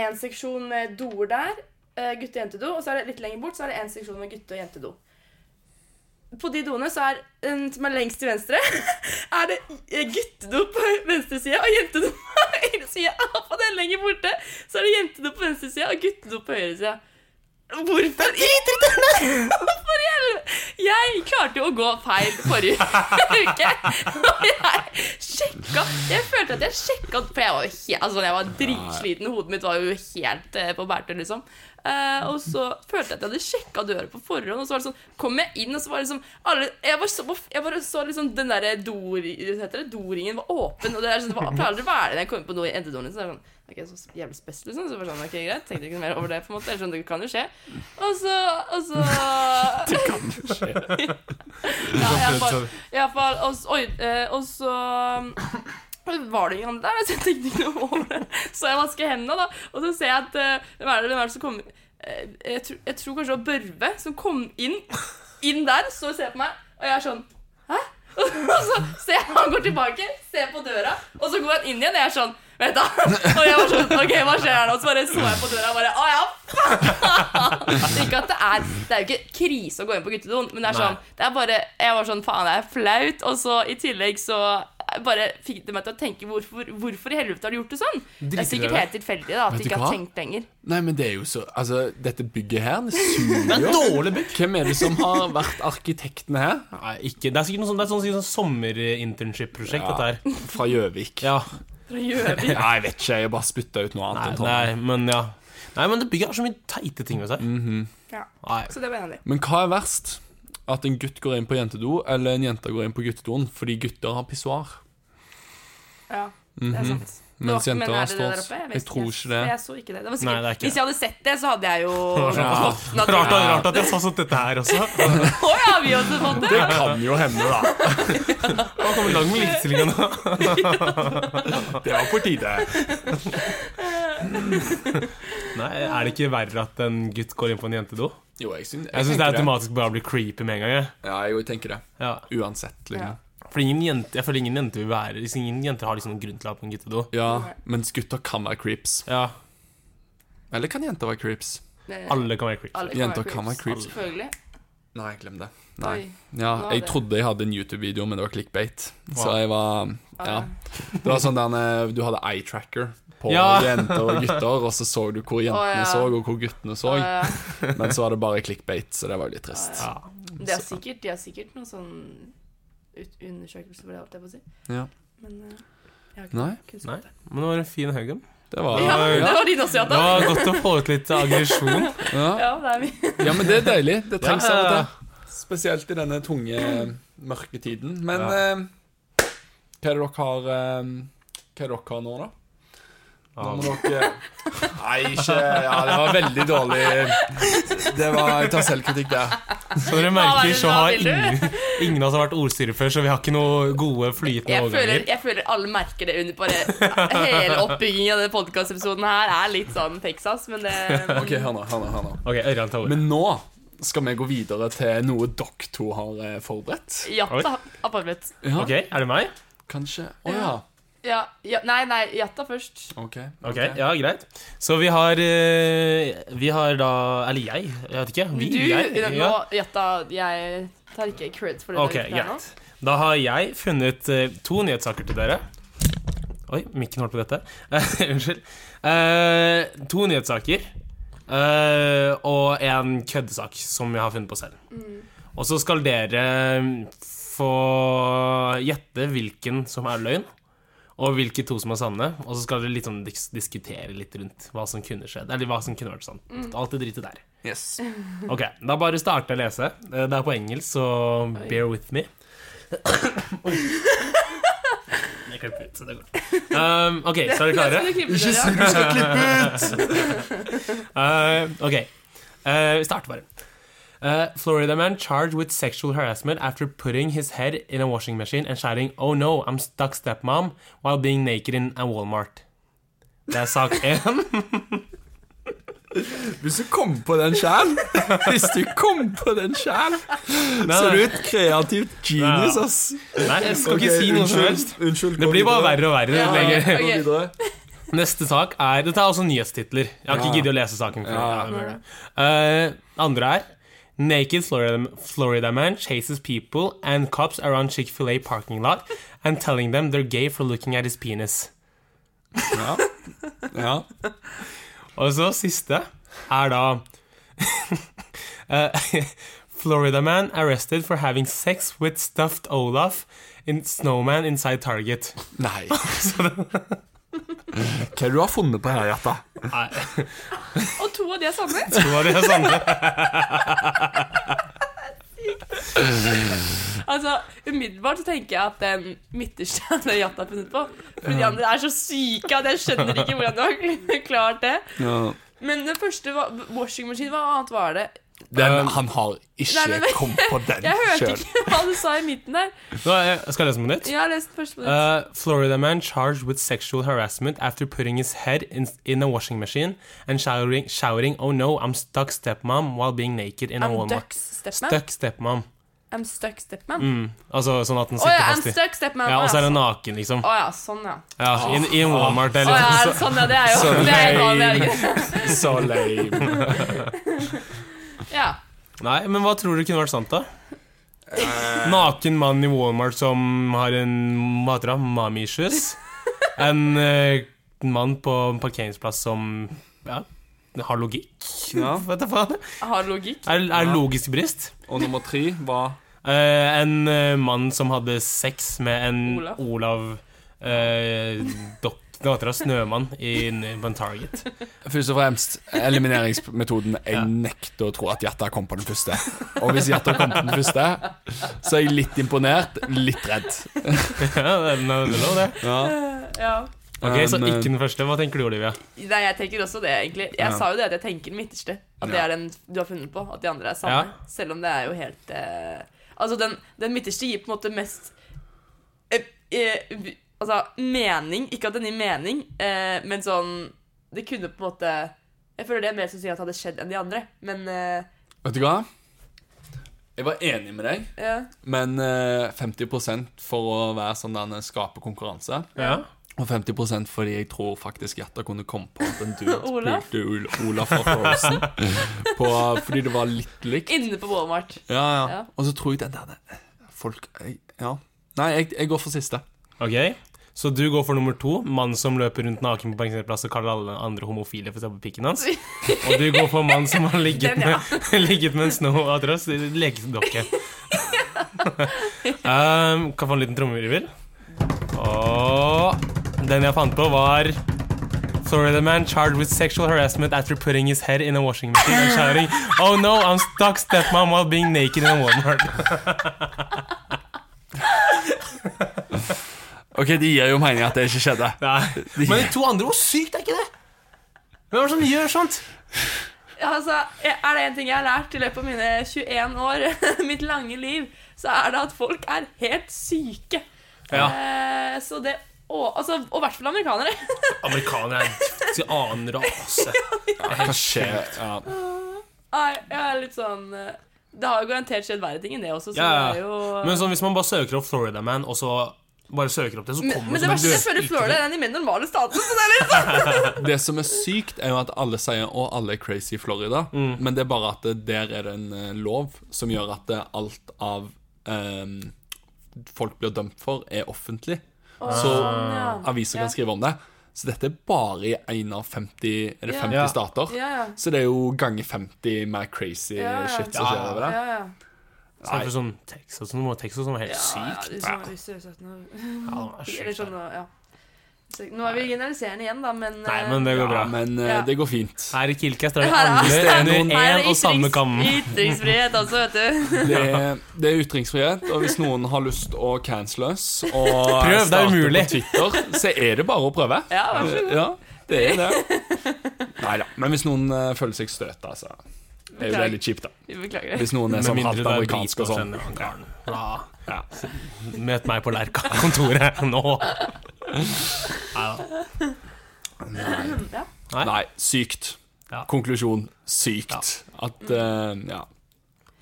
S2: én seksjon med doer der. eh, Gutte- og jentedo. Og så er det litt lenger bort så er det én seksjon med gutte- og jentedo. På de doene så er den som er lengst til venstre, er det eh, guttedo på venstre side og jentedo på høyre side. Og på den lenger borte så er det jentedo på venstre side og guttedo på høyre side. Hvorfor i Hvorfor i helvete? Jeg klarte jo å gå feil forrige uke. Og jeg sjekka Jeg følte at jeg sjekka For jeg var, jo he altså, jeg var dritsliten. Hodet mitt var jo helt eh, på bærtur, liksom. Eh, og så følte jeg at jeg hadde sjekka døra på forhånd, og så var det sånn Kom jeg inn, og så var det liksom alle, jeg, bare så, på f- jeg bare så liksom den derre dori- hva heter det? doringen var åpen, og det er sånn, det var- pleier aldri å være det når jeg kommer på noe i endedoren. Så er det sånn, ok, så jævlig spes, liksom. Så bare sånn, ok, greit. Tenkte ikke noe mer over det, på en måte. Eller sånn, det kan jo skje. Og så Og så Det kan jo skje. ja, i alle fall- i alle fall. Og så, oi, eh, og så um, var det ingen andre der, så jeg tenkte ikke noe over det. Så jeg vasker hendene, da, og så ser jeg at eh, Hvem er det, hvem er det som kommer Eh, jeg, tror- jeg tror kanskje det var Børve som kom inn, inn der, så ser på meg, og jeg er sånn Hæ? Og så ser jeg han går tilbake, ser på døra, og så går han inn igjen, og jeg er sånn Vet du, og jeg var sånn, ok, hva skjer her nå? Så bare så jeg på døra og bare, å ja, ikke at det er Det er jo ikke krise å gå inn på guttedoen, men det er
S1: Nei.
S2: sånn Det er bare Jeg var sånn Faen, det er flaut. Og så i tillegg så eh, bare fikk det meg til å tenke hvorfor, hvorfor i helvete har du gjort det sånn? Det er
S1: Driter
S2: sikkert
S1: dere.
S2: helt tilfeldig da at du
S3: Vet du
S2: ikke har
S3: hva?
S2: tenkt lenger.
S3: Nei, men det er jo så Altså, dette bygget her, det suger
S1: Det er
S3: jo.
S1: dårlig bygg.
S3: Hvem er det som har vært arkitektene her?
S1: Nei, ikke. Det er sikkert noe sånn, det er sånn, sånn sommerinternship-prosjekt,
S3: Ja,
S1: dette her.
S3: Fra Gjøvik.
S1: Ja,
S2: For å gjøre det.
S3: Ja, jeg vet ikke, jeg bare spytta ut noe
S1: nei,
S3: annet. enn
S1: nei,
S3: tårnet.
S1: men ja. Nei, men det bygget har så mye teite ting ved seg.
S3: Mm.
S2: Ja.
S1: Nei.
S2: Så det var en av de.
S3: Men hva er verst? At en gutt går inn på jentedo, eller en jente går inn på guttedoen fordi gutter har pissoar?
S2: Ja. Det
S3: Mhm.
S2: er sant.
S3: Mens
S2: Det var- men
S3: jenter
S2: er
S3: har
S2: det det der
S3: stås.
S2: oppe?
S3: Jeg
S2: vet
S3: tror ikke det.
S2: For Jeg så ikke det. det, var sikkert,
S1: Nei, det er ikke
S2: Hvis jeg hadde sett det, så hadde jeg jo
S1: Ja.
S2: våknet.
S1: Rart, rart at jeg sa sånn dette her også.
S2: Å ja, vi hadde fått det!
S3: Det kan jo hende, da.
S1: Hva kommer i gang med likestillinga nå?
S3: Det var på tide.
S1: Nei, Er det ikke verre at en gutt går inn på en jentedo?
S3: Jo, jeg syns
S1: Jeg syns det er automatisk bare blir creepy med en gang. jeg.
S3: Ja, jo, jeg tenker det.
S1: Ja.
S3: Uansett, liksom.
S1: For ingen jente, jeg føler ingen jenter vil være liksom, Ingen jenter har liksom noen grunn til å ha på en guttedo.
S3: Ja, mens gutter kan være creeps.
S1: Ja,
S3: Eller kan jenter være creeps?
S2: Eh,
S1: alle kan være creepy.
S2: alle
S3: Jenter kan være creeps.
S2: Selvfølgelig.
S3: Nei, glem det. Nei.
S2: Oi. Hva
S3: Ja, jeg
S2: var det?
S3: trodde jeg hadde en YouTube-video, men det var clickbait. Så
S1: Wow.
S3: jeg var Ja. Det var sånn den eh, Du hadde eye tracker på
S1: Ja.
S3: jenter og gutter, og så så du hvor
S2: Å, ja.
S3: jentene så, og hvor guttene så.
S2: Å, ja.
S3: Men så var det bare clickbait, så det var jo litt trist.
S1: Ja.
S2: De har sikkert, de har sikkert noen sånn ut- undersøkelse for det, holdt jeg på å si.
S3: Ja.
S2: Men eh, jeg har ikke
S3: Nei,
S1: Nei,
S2: kunnskap der.
S1: men det var en fin haug. Det
S3: det var
S2: Ja,
S1: Ja.
S2: det var din også, Jata.
S1: var godt å få ut litt aggresjon.
S3: Ja.
S2: Ja, det er vi.
S3: ja, men det er deilig. Det trengs av
S1: Ja.
S3: og til. Spesielt i denne tunge, mørke tiden. Men
S1: Ja.
S3: eh, hva er det dere har eh, Hva er det dere har nå, da? Nå
S1: Ja.
S3: må dere Nei, ikke Ja, det var veldig dårlig. Det var Jeg tar selvkritikk der.
S1: Som
S2: Hva
S1: dere
S2: er
S1: merker,
S2: det
S1: så
S2: du
S1: har
S2: vil du?
S1: ingen, ingen av oss har vært ordstyrer før, så vi har ikke noe gode flytende
S2: Jeg føler,
S1: overganger.
S2: jeg føler alle merker det under bare Hele oppbyggingen av denne podkastepisoden her er litt sånn Texas, men eh, det
S3: OK, hør nå. Hør nå, hør nå.
S1: Ok, Ørjan tar ordet.
S3: Men nå skal vi gå videre til noe dere to har eh, forberedt.
S2: Jata har forberedt.
S3: Ja,
S1: Ok, er det meg?
S3: Kanskje Å ja.
S2: Ja, ja, nei, nei, Jata først.
S3: OK.
S1: Ok, ja, greit. Så vi har eh, Vi har da Eller jeg, jeg vet ikke. Vi,
S2: Du,
S1: jeg,
S2: nå, Jata, jeg tar ikke cred for det
S1: Ok,
S2: du gjør nå.
S1: greit. Da har jeg funnet eh, to nyhetssaker til dere. Oi, mikken holdt på dette. Unnskyld. Eh, to nyhetssaker eh, og en køddesak som jeg har funnet på selv. Og så eh, skal dere få gjette hvilken som er løgn, og hvilke to som er sanne. Og så skal dere liksom dis diskutere litt rundt hva som kunne skjedd. Eller hva som kunne vært sant. Alt det dritet der.
S3: Yes.
S1: Ok, da bare starter jeg å lese. Eh, Det er på engelsk, så bear with me. Oi. Jeg klipper ut, så det går. Um, ok, så er dere klare?
S3: Ikke si du skal klippe ut!
S1: Uh, ok, uh, vi starter bare. Uh, Florida man charged with sexual harassment after putting his head in a washing machine and shouting, oh no, I'm stuck stepmom, while being naked in a Walmart. Det er sak 1.
S3: Hvis du kom på den sjæl Hvis du kom på den sjæl, så er du et kreativt genius, ass.
S1: Nei, jeg skal
S3: Ok,
S1: ikke si noe som
S3: unnskyld,
S1: helst.
S3: Unnskyld.
S1: Det blir bare verre og verre.
S2: Ja.
S1: jo lenger.
S2: Ok.
S3: Gå videre.
S1: Neste sak er Dette er også nyhetstitler. Jeg har
S3: Ja.
S1: ikke giddet å lese saken. før.
S3: Ja.
S1: Ja, det er det. Eh, andre er Naked Florida, Florida man chases people and cops around Chick-fil-A parking lot and telling them they're gay for looking at his penis.
S3: Ja. ja.
S1: Og så siste er da eh, Florida man arrested for having sex with stuffed Olaf in snowman inside Target.
S3: Nei. Hva er det du har funnet på her, Jatta?
S1: Nei,
S2: Og to av de er sanne.
S1: det var det samme.
S2: Altså, Umiddelbart så tenker jeg at den midterste er det Jatta har funnet på. For de andre er så syke at jeg skjønner ikke hvordan du har klart det. Men den første var washingmaskin. Hva annet var det?
S1: Den-
S3: han har
S2: Nei, men-
S3: kommet på den
S2: Jeg hørte ikke hva du sa i midten der.
S1: Nå, eh, skal jeg lese den på nytt?
S2: Jeg har lest først på nytt.
S1: Uh, Florida man charged with sexual harassment after putting his head in, in a washing machine and shouting, shouting, "Oh no, I'm stuck stepmom" while being naked in a
S2: I'm
S1: Walmart.
S2: ducks stepman.
S1: Stuck stepmom.
S2: I'm stuck stepman.
S1: Altså sånn at den
S2: Å
S1: sitter
S2: ja, I'm
S1: fast i
S2: stuck stepman.
S1: Ja, og så er
S2: Å
S1: den naken, liksom.
S2: ja, sånn ja.
S1: Ja, i, en- I en Walmart. Det er
S2: Å ja,
S1: liksom
S2: er det sånn ja, det er jo
S3: så
S2: det er jo det er
S3: lame.
S2: ikke.
S3: Så lame.
S2: Ja.
S1: så Nei, men hva tror du kunne vært sant, da? Naken mann i Walmart som har en Hva heter det? Mommy issues. En eh, mann på en parkeringsplass som ja, har logikk.
S3: Ja.
S1: Vet du faen.
S2: Har logikk.
S1: Er, er
S3: Ja.
S1: logisk brist.
S3: Og nummer tre var
S1: Eh, en eh, mann som hadde sex med en
S2: Olav.
S1: Olav, eh, dok, Hva heter det? Snømann i, på en Target.
S3: Først og fremst elimineringsmetoden. Jeg nekter å tro at Jatta kom på den første. Og hvis Jatta kom på den første, så er jeg litt imponert, litt redd.
S1: ja, det, er- det er lov, det.
S2: Ja.
S1: Ok, Så
S3: Men, eh,
S1: ikke den første. Hva tenker du, Olivia?
S2: Nei, jeg tenker også det, egentlig. Jeg
S3: Ja.
S2: sa jo det at jeg tenker den midterste. At det
S3: Ja.
S2: er den du har funnet på. At de andre er samme.
S1: Ja.
S2: Selv om det er jo helt eh, Altså, den, den midterste gir på en måte mest eh, eh, vi- Altså, mening. Ikke at den gir mening, eh, men sånn Det kunne på en måte Jeg føler det er mer som sier at det hadde skjedd enn de andre, men eh,
S3: Vet du hva? Jeg var enig med deg,
S2: ja.
S3: men eh, 50 for å være sånn der en skaper konkurranse.
S1: Ja.
S3: Og 50 fordi jeg tror faktisk Jatta kunne komme på at en dude
S2: Olaf?
S3: pulte Ol- Olaf fra Frozen. På, fordi det var litt likt.
S2: Inne på Walmart.
S3: Ja, ja.
S2: Ja.
S3: Og så tror jeg den der eh, Folk jeg, Ja. Nei, jeg, jeg går for siste.
S1: Ok, Så du går for nummer to. Mann som løper rundt naken på parkeringsplass og kaller alle andre homofile for å se på pikken hans. Og du går for mann som har ligget,
S2: Den, ja.
S1: med, ligget med en snøatross i lekedokke. um, kan få en liten trommevirvel. Og den jeg fant på, var Florida man charged with sexual harassment after putting his head in a washing machine and shouting Oh no, I'm stuck stepmom while being naked in a Walmart.
S3: OK, det gir jo mening at det ikke skjedde.
S1: Nei. Men de to andre, hvor sykt er ikke det? Hvem er det som gjør sånt?
S2: Ja, altså, er det en ting jeg har lært i løpet av mine 21 år, mitt lange liv, så er det at folk er helt syke.
S1: Ja.
S2: Eh, så det, og, altså, og i hvert fall amerikanere.
S1: Amerikanere er en annen rase.
S3: Hva skjer? Ja.
S2: Nei, jeg er litt sånn eh, Det har jo garantert skjedd verre ting enn det også, så
S1: Ja, ja.
S2: det er jo
S1: Men sånn, hvis man bare søker opp Florida Man, og så bare søker opp det, så
S2: men, men
S1: kommer
S2: det
S1: som en
S2: verste jeg
S1: død-
S2: føler Florida er en av de mer normale statene. Så det er litt sånn.
S3: Det som er sykt, er jo at alle sier 'å, alle er crazy i Florida', men det er bare at det- der er det en eh, lov som gjør at det, alt av ehm, folk blir dømt for, er offentlig. Så
S2: ja.
S3: aviser
S2: Ja.
S3: kan skrive om det. Så dette er bare i én av 50, er det
S2: Ja.
S3: 50
S1: Ja.
S3: stater.
S2: Ja, ja.
S3: Så det er jo ganger 50 mer crazy
S2: Ja, ja.
S3: shit som
S1: Ja,
S3: skjer
S1: ja.
S3: over
S2: Ja,
S3: det.
S2: ja.
S1: Så er det sånn Texas, sånn, Texas som er helt
S2: Ja, ja,
S1: sykt.
S2: det er sånn, hvis du er 17 år.
S1: Ja, det er
S2: Eller
S1: sykt.
S2: sånn, ja. Så, nå er vi generaliserende igjen, da, men,
S1: Nei, men det går bra.
S3: Ja, men eh,
S2: Ja.
S3: det går fint.
S1: Her i Kilcast er det
S2: Her er-
S1: alle under
S2: Her er
S1: én og samme
S2: ytrings-
S1: kam.
S2: Ytringsfrihet, altså, vet du.
S3: Det er, det er ytringsfrihet, og hvis noen har lyst å cancele oss og
S1: Prøv, det er
S3: starte
S1: umulig.
S3: på Twitter, så er det bare å prøve.
S2: Ja, vær så god.
S3: Ja, det er det. Nei da. Men hvis noen eh, føler seg støta, så er jo det litt kjipt, da.
S2: Vi beklager det.
S3: Hvis noen er
S1: Med
S3: sånn
S1: mindre
S3: halvt
S1: du er
S3: amerikansk
S1: dritgod
S3: og sånn.
S1: kjenner han karen. Ja.
S3: Ja.
S1: Møt meg på Lerka-kontoret nå. Neida.
S2: Ja.
S1: Nei.
S3: Nei, sykt.
S1: Ja.
S3: Konklusjon sykt. At eh, Ja.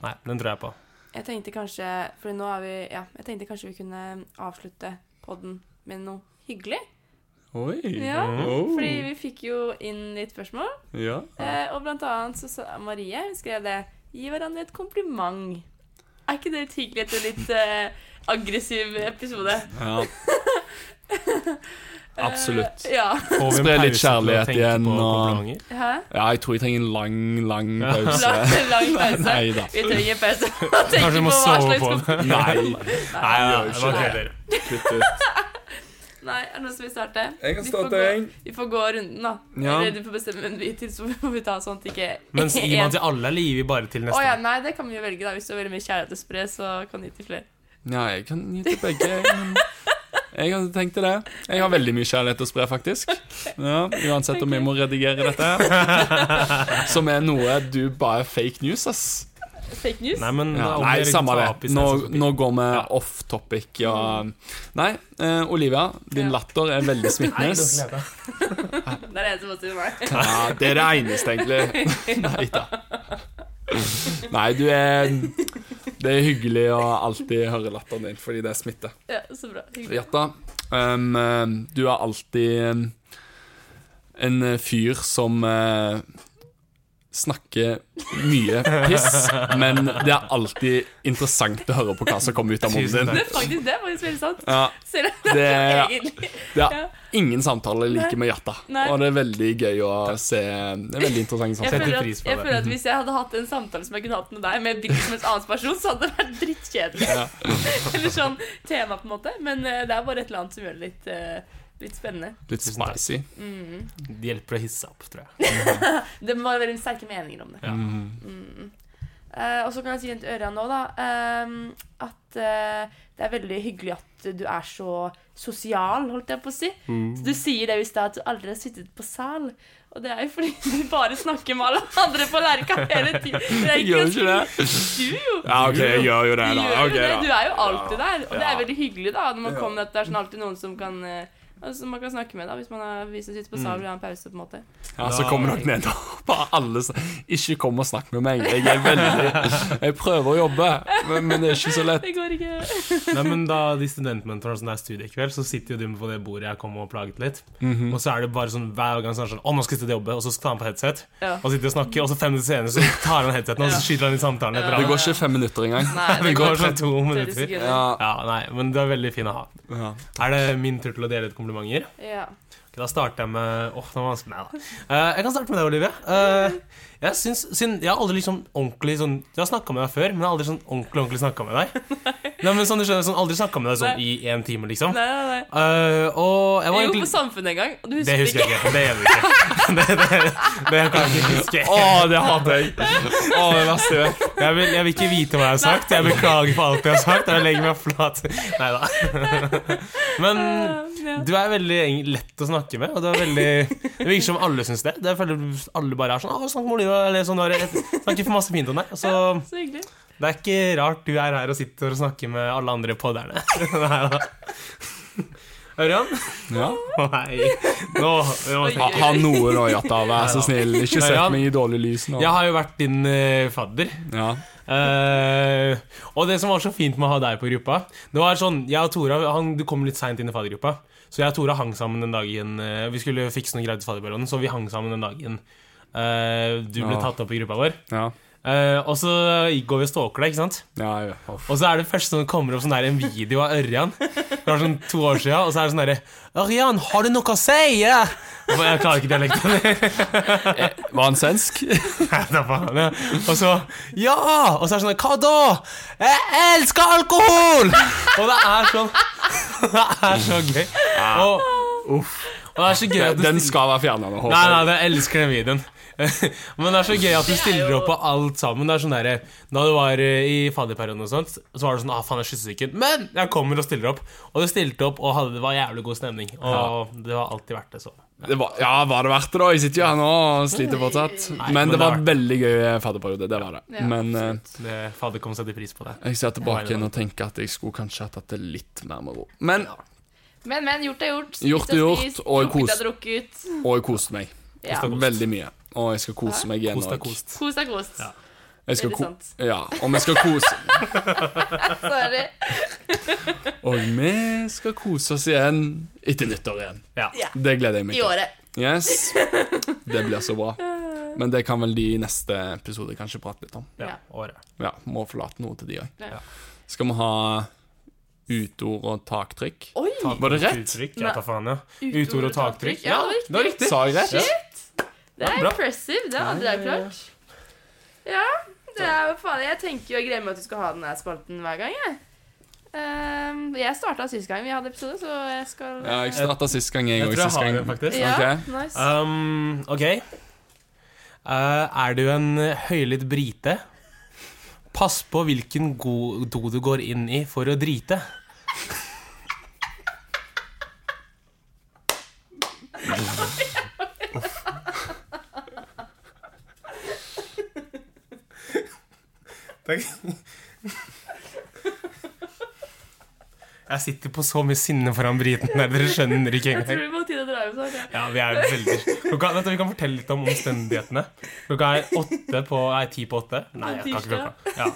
S1: Nei, den tror jeg på.
S2: Jeg tenkte kanskje Fordi nå er vi Ja, jeg tenkte kanskje vi kunne avslutte podden med noe hyggelig.
S3: Oi.
S2: Ja,
S3: Oh.
S2: fordi vi fikk jo inn litt spørsmål,
S3: Ja.
S2: eh, og blant annet så sa Marie hun skrev det Gi hverandre et kompliment. Er ikke det litt hyggelig etter litt eh, aggressiv episode?
S3: ja. Absolutt.
S2: Eh, ja.
S1: Får vi en
S3: Spre litt
S1: pause til å
S3: kjærlighet
S1: tenke
S3: igjen,
S1: på
S3: og-
S1: komplimenter?
S2: Hæ?
S3: ja, jeg tror jeg trenger en lang, lang pause.
S2: Lang, lang pause.
S3: Nei da.
S2: Vi trenger pause. Tenk
S1: Kanskje vi må
S2: på hva
S1: sove
S2: slags
S1: på det.
S3: Nei,
S1: Nei, ja,
S3: gjør
S1: det
S3: ikke
S1: var
S3: det.
S1: kødder.
S3: kutt ut.
S2: Nei, er det noen som vil starte?
S3: Jeg kan
S2: Vi får gå-
S3: starte, jeg.
S2: Vi får gå runden, da.
S3: Ja.
S2: Eller du får bestemme en bit til, så får vi ta sånt ikke
S1: Men gir man
S2: en-
S1: til alle, eller gir vi bare til
S2: Å ja,
S1: neste?
S2: nei, det kan vi jo velge, da. Hvis du har veldig mye kjærlighet å spre, så kan du gi til flere.
S3: Nei, jeg kan gi til begge. jeg, Men jeg hadde tenkt det. Jeg har veldig mye kjærlighet å spre, faktisk. Ja, uansett om jeg må redigere dette. Som er noe du bare er fake news, ass.
S2: Fake news?
S1: Nei, men
S3: Ja,
S1: Mm. da
S3: nei,
S1: opplever jeg
S3: samme
S1: ikke tap
S3: det.
S1: i
S3: Nå,
S1: stedet for
S3: nå
S1: bil.
S3: går vi
S1: Ja.
S3: off topic. Ja. Nei, eh, Olivia, din
S2: Ja.
S3: latter er veldig
S1: Nei,
S3: smittende.
S1: det er
S2: Det er det eneste som sier meg.
S3: Ja, det er det eneste, egentlig. Nei da. Nei, du er Det er hyggelig å alltid høre latteren din, fordi det smitter.
S2: Ja, så bra. Hyggelig.
S3: Jatta, em, em, um, du er alltid em, en uh, fyr som eh, snakker mye piss, men det er alltid interessant å høre på hva som kommer ut av munnen
S1: Tusen
S3: din.
S1: takk.
S2: Det er faktisk det, er faktisk veldig sant.
S3: Ja,
S2: Selv om det
S3: Det-
S2: egentlig
S3: det
S2: Ja.
S3: er ingen samtaler like med Jatta,
S2: Nei.
S3: og det er veldig gøy å se. Det er veldig interessant
S2: jeg
S1: Setter
S3: samtale.
S2: føler, at,
S1: pris på
S2: jeg
S1: det.
S2: føler at Hvis jeg hadde hatt en samtale som jeg kunne hatt med deg, med hvilken som helst annen person, så hadde det vært drittkjedelig.
S3: Ja.
S2: Eller sånn tema, på en måte. Men eh, det er bare et eller annet som gjør det litt, eh, litt spennende.
S3: Litt
S1: Tusen takk.
S3: spicy.
S1: Det hjelper å hisse opp, tror jeg.
S2: Det må være veldig sterke meninger om det.
S3: Mm.
S2: Eh, og så kan jeg si igjen til Ørjan nå, da, ehm, at eh, det er veldig hyggelig at du er så sosial, holdt jeg på å si.
S3: Mm.
S2: Så du sier det i stad at du aldri har sittet på sal. Og det er jo fordi du bare snakker med alle andre på Lerka hele tiden. Det er
S3: Jeg gjør
S2: noe
S3: ikke det.
S2: Du jo.
S3: Ja, OK, jeg gjør jo det,
S2: Du
S3: da.
S2: gjør jo
S3: Ok,
S2: det. Du
S3: da.
S2: er jo alltid der. Og det er
S3: Ja.
S2: veldig hyggelig, da, når man kommer at det er sånn alltid noen som kan eh, Altså, man kan snakke med da, hvis man har, hvis man sitter på
S3: Mm.
S2: sal og vil ha en pause. på en måte
S3: Ja, så kommer dere ned og bare alle s- Ikke kom og snakk med meg. Jeg er veldig Jeg prøver å jobbe, men, men det er ikke så lett.
S2: Det går ikke.
S1: Nei, men da de studentmentorene som det er studiekveld, så sitter jo de på det bordet jeg kom og plaget litt. Og så er det bare sånn hver gang så er det sånn Å, nå skal jeg sitte og jobbe, og så tar han på headset.
S2: Ja.
S1: Og sitter og snakker, og så fem minutter senere så tar han headseten, og så skyter han i samtalen etter
S3: Det
S1: ham.
S3: går ikke fem minutter engang.
S2: Nei,
S1: Det går sånn to
S2: trettitre
S1: minutter.
S2: sekunder.
S3: Ja,
S1: Ja, nei, men det er veldig fin å ha.
S3: ja.
S1: Er det min tur til å dele ut komplimenter?
S2: Ja.
S1: Ok, Da starter jeg med Åh, det var vanskelig. Nei da. Eh, jeg kan starte med deg, Olivia. Eh, jeg, syns, siden, jeg har aldri liksom ordentlig sånn Jeg har snakka med deg før, men jeg har aldri sånn ordentlig ordentlig snakka med deg. Nei, men sånn, du skjønner, sånn Aldri snakka med deg sånn i én time, liksom.
S2: Nei, nei, nei.
S1: Eh, og jeg
S2: Jo,
S1: var
S2: sånn på
S1: egentlig
S2: Samfunnet en gang. Og du
S1: Det
S2: husker,
S1: husker jeg ikke. Det gjør vi ikke. Det, det, det kan jeg ikke huske.
S3: Å, det hater jeg. Å, det verste jeg vet.
S1: Jeg vil, jeg vil ikke vite hva jeg har sagt. Jeg beklager for alt jeg har sagt. og Jeg legger meg flat. Nei da. Men
S2: Ja.
S1: Du er veldig eng- lett å snakke med, og det, er veldig, det virker som alle syns det. Det føler Alle bare er sånn «Å, 'Snakk med Olivia', eller sånn bare, snakker for masse fint om deg. Så
S2: Så hyggelig.
S1: det er ikke rart du er her og sitter og snakker med alle andre podderne. Neida. Ørjan?
S3: Ja.
S1: Å, Nei, nå nå må jeg
S3: Ha,
S1: tenke.
S3: ha noe, da, Jatta. Vær så snill. Ikke sett meg i dårlig lys nå.
S1: Jeg har jo vært din eh, fadder.
S3: Ja.
S1: Eh, og det som var så fint med å ha deg på gruppa Det var sånn, jeg og Tora han, Du kom litt seint inn i faddergruppa, så jeg og Tora hang sammen den dagen eh, Vi skulle fikse noen greier til fadderperioden, så vi hang sammen den dagen eh, du ble
S3: Ja.
S1: tatt opp i gruppa vår.
S3: Ja.
S1: Eh, og så går vi og stalker deg, ikke sant?
S3: ja, ja. Uff.
S1: Og så er det første som kommer opp sånn der en video av Ørjan. Det var sånn to år siden, og så er det sånn derre 'Ørjan, har du noe å si?' Ja? Og Jeg klarer ikke dialekten.
S3: Eh, Var han svensk?
S1: Da faen, ja. Og så Ja! Og så er det sånn Hva da? Jeg elsker alkohol! Og det er sånn Det er så gøy. Og Og det er så gøy at du
S3: Den
S1: stiller-
S3: skal være fjerna nå. håper
S1: Nei,
S3: jeg.
S1: nei, jeg elsker den videoen. Men det er så gøy at du stiller opp på alt sammen. Det er sånn der, Da du var eh, i fadderperioden og sånt, så var det sånn ah, faen, jeg er kyssesyken. Men jeg kommer og stiller opp. Og du stilte opp, og hadde, det var jævlig god stemning. Og det var alltid verdt det, så.
S3: Det var, ja, var det verdt det, da? Jeg sitter jo her nå og sliter fortsatt.
S1: men
S3: Men det var
S1: det er verdt
S3: veldig gøy fadderperiode. Det var det.
S2: Ja,
S3: Men eh,
S1: Det, fadder kom og sette pris på det.
S3: jeg ser tilbake
S1: Ja.
S3: igjen og tenker at jeg skulle kanskje ha tatt det litt mer med ro. Men
S2: Men, men, gjort er gjort. Spist
S3: Gjort er
S2: er
S3: gjort,
S2: spist,
S3: og
S2: drukket
S3: kost.
S2: er drukket.
S3: Og jeg koste meg
S2: Ja.
S1: Kost er kost.
S3: veldig mye. Og jeg skal kose meg igjen
S1: Kost deg,
S3: òg.
S1: kost.
S2: Kost er kost.
S1: Ja.
S3: Jeg skal
S2: Veldig
S3: ko
S2: sant.
S3: ja, og vi skal kose
S2: Sorry.
S3: Og vi skal kose oss igjen etter nyttår igjen.
S1: Ja.
S2: Ja.
S3: Det gleder jeg meg
S2: I
S3: til.
S2: året.
S3: Yes. Det blir så bra. Men det kan vel de i neste episode kanskje prate litt om.
S1: ja.
S2: Ja.
S1: Året.
S3: Ja, Må forlate noe til de òg.
S2: Ja.
S3: Skal vi ha utord og taktrykk?
S2: Oi!
S1: Taktrykk,
S3: Var det rett?
S1: Uttrykk, ja,
S2: Nei.
S1: ta faen, ja. Utord og taktrykk.
S2: Ja,
S1: Ja,
S2: det
S1: det var riktig.
S3: Sa jeg rett?
S2: Det er
S1: bra.
S2: impressive. Det hadde jeg klart. Ja, det er jo faen Jeg tenker jo jeg gleder meg at du skal ha den her spalten hver gang, jeg. Ehm, jeg starta sist gang vi hadde episode, så jeg skal
S3: Ja, jeg starta sist gang, jeg
S1: Jeg
S3: òg.
S1: tror jeg har den, faktisk.
S2: Ja,
S3: Ok.
S2: nice.
S1: Um, ok. Eh, er du en høylytt brite? Pass på hvilken god do du går inn i for å drite. Takk. Jeg sitter på så mye sinne foran briten der, dere skjønner ikke
S2: Jeg
S1: engang.
S2: tror vi må ha tid til å dra hjem snart. ja.
S1: Ja, vi er veldig Klokka, vet du, Vi kan fortelle litt om omstendighetene. Klokka er åtte på Nei, ti på åtte. Nei, jeg kan ikke klokka. Ja.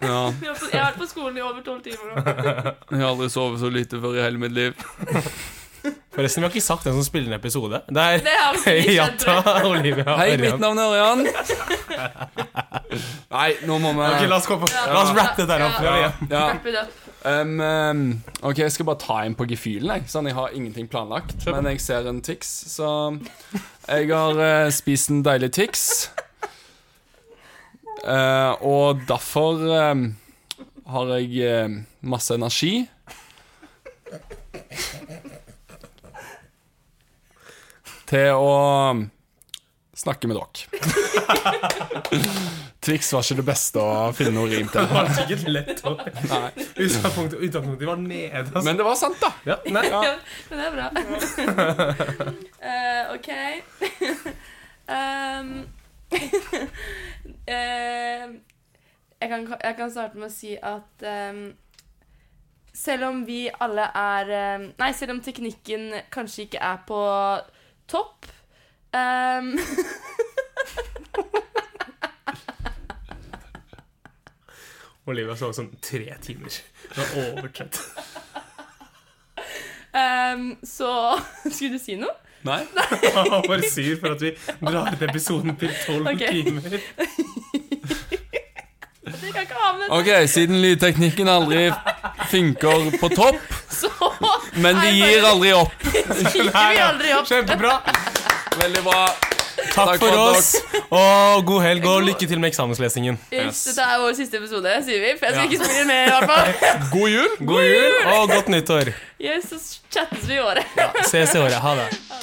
S3: Ja,
S2: Vi har fått- Jeg har vært på skolen i over tolv timer nå.
S3: jeg har aldri sovet så lite før i hele mitt liv.
S1: Forresten, vi har ikke sagt hvem som spiller en episode. Det er
S2: Det har vi ikke skjønt. tror
S1: Jata,
S2: jeg.
S1: Olivia og
S3: Hei, mitt
S1: Ørjan.
S3: navn er Ørjan. Nei, nå må vi
S1: Ok, la oss gå på La oss rappe det der opp.
S2: Ja.
S1: Ja.
S3: ja.
S2: Wrap it up.
S3: um, um, OK, jeg skal bare ta en på gefühlen. Jeg. Sånn, jeg har ingenting planlagt,
S1: Kjør på.
S3: men jeg ser en Tix, så jeg har eh, spist en deilig Tix. Eh, og derfor em, har jeg em, masse energi. Til å snakke med dere. Twix var ikke det beste å finne noe rim til.
S1: Det var sikkert lett å
S3: Nei.
S1: Utgangspunktet utgangspunktet var nede. Altså.
S3: Men det var sant, da.
S1: Ja, nei.
S2: Ja, men det er bra. Eh, ok. um, eh, jeg, kan, jeg kan starte med å si at ehm, selv om vi alle er ehm, Nei, selv om teknikken kanskje ikke er på topp ehm,
S1: Olivia sov sånn tre timer. Det var overtrøtt.
S2: ehm, Så Skulle du si noe?
S3: Nei.
S1: Han var bare sur for at vi drar ut episoden til tolv
S2: Ok.
S1: timer.
S2: Jeg kan ikke ha med
S3: OK, siden lydteknikken aldri funker på topp,
S2: Så
S3: men de gir aldri opp.
S2: gikk vi aldri opp.
S1: Kjempebra.
S3: Veldig bra.
S1: Takk for oss, og god helg, og lykke til med eksamenslesingen.
S2: Yes,
S3: Yes.
S2: dette er vår siste episode, sier vi. For jeg skal
S1: Ja.
S2: ikke spille mer, i hvert fall.
S3: God jul.
S1: God jul og godt nyttår.
S2: Yes, så chattes vi i året.
S1: Ses i året. Ha det.
S2: Ha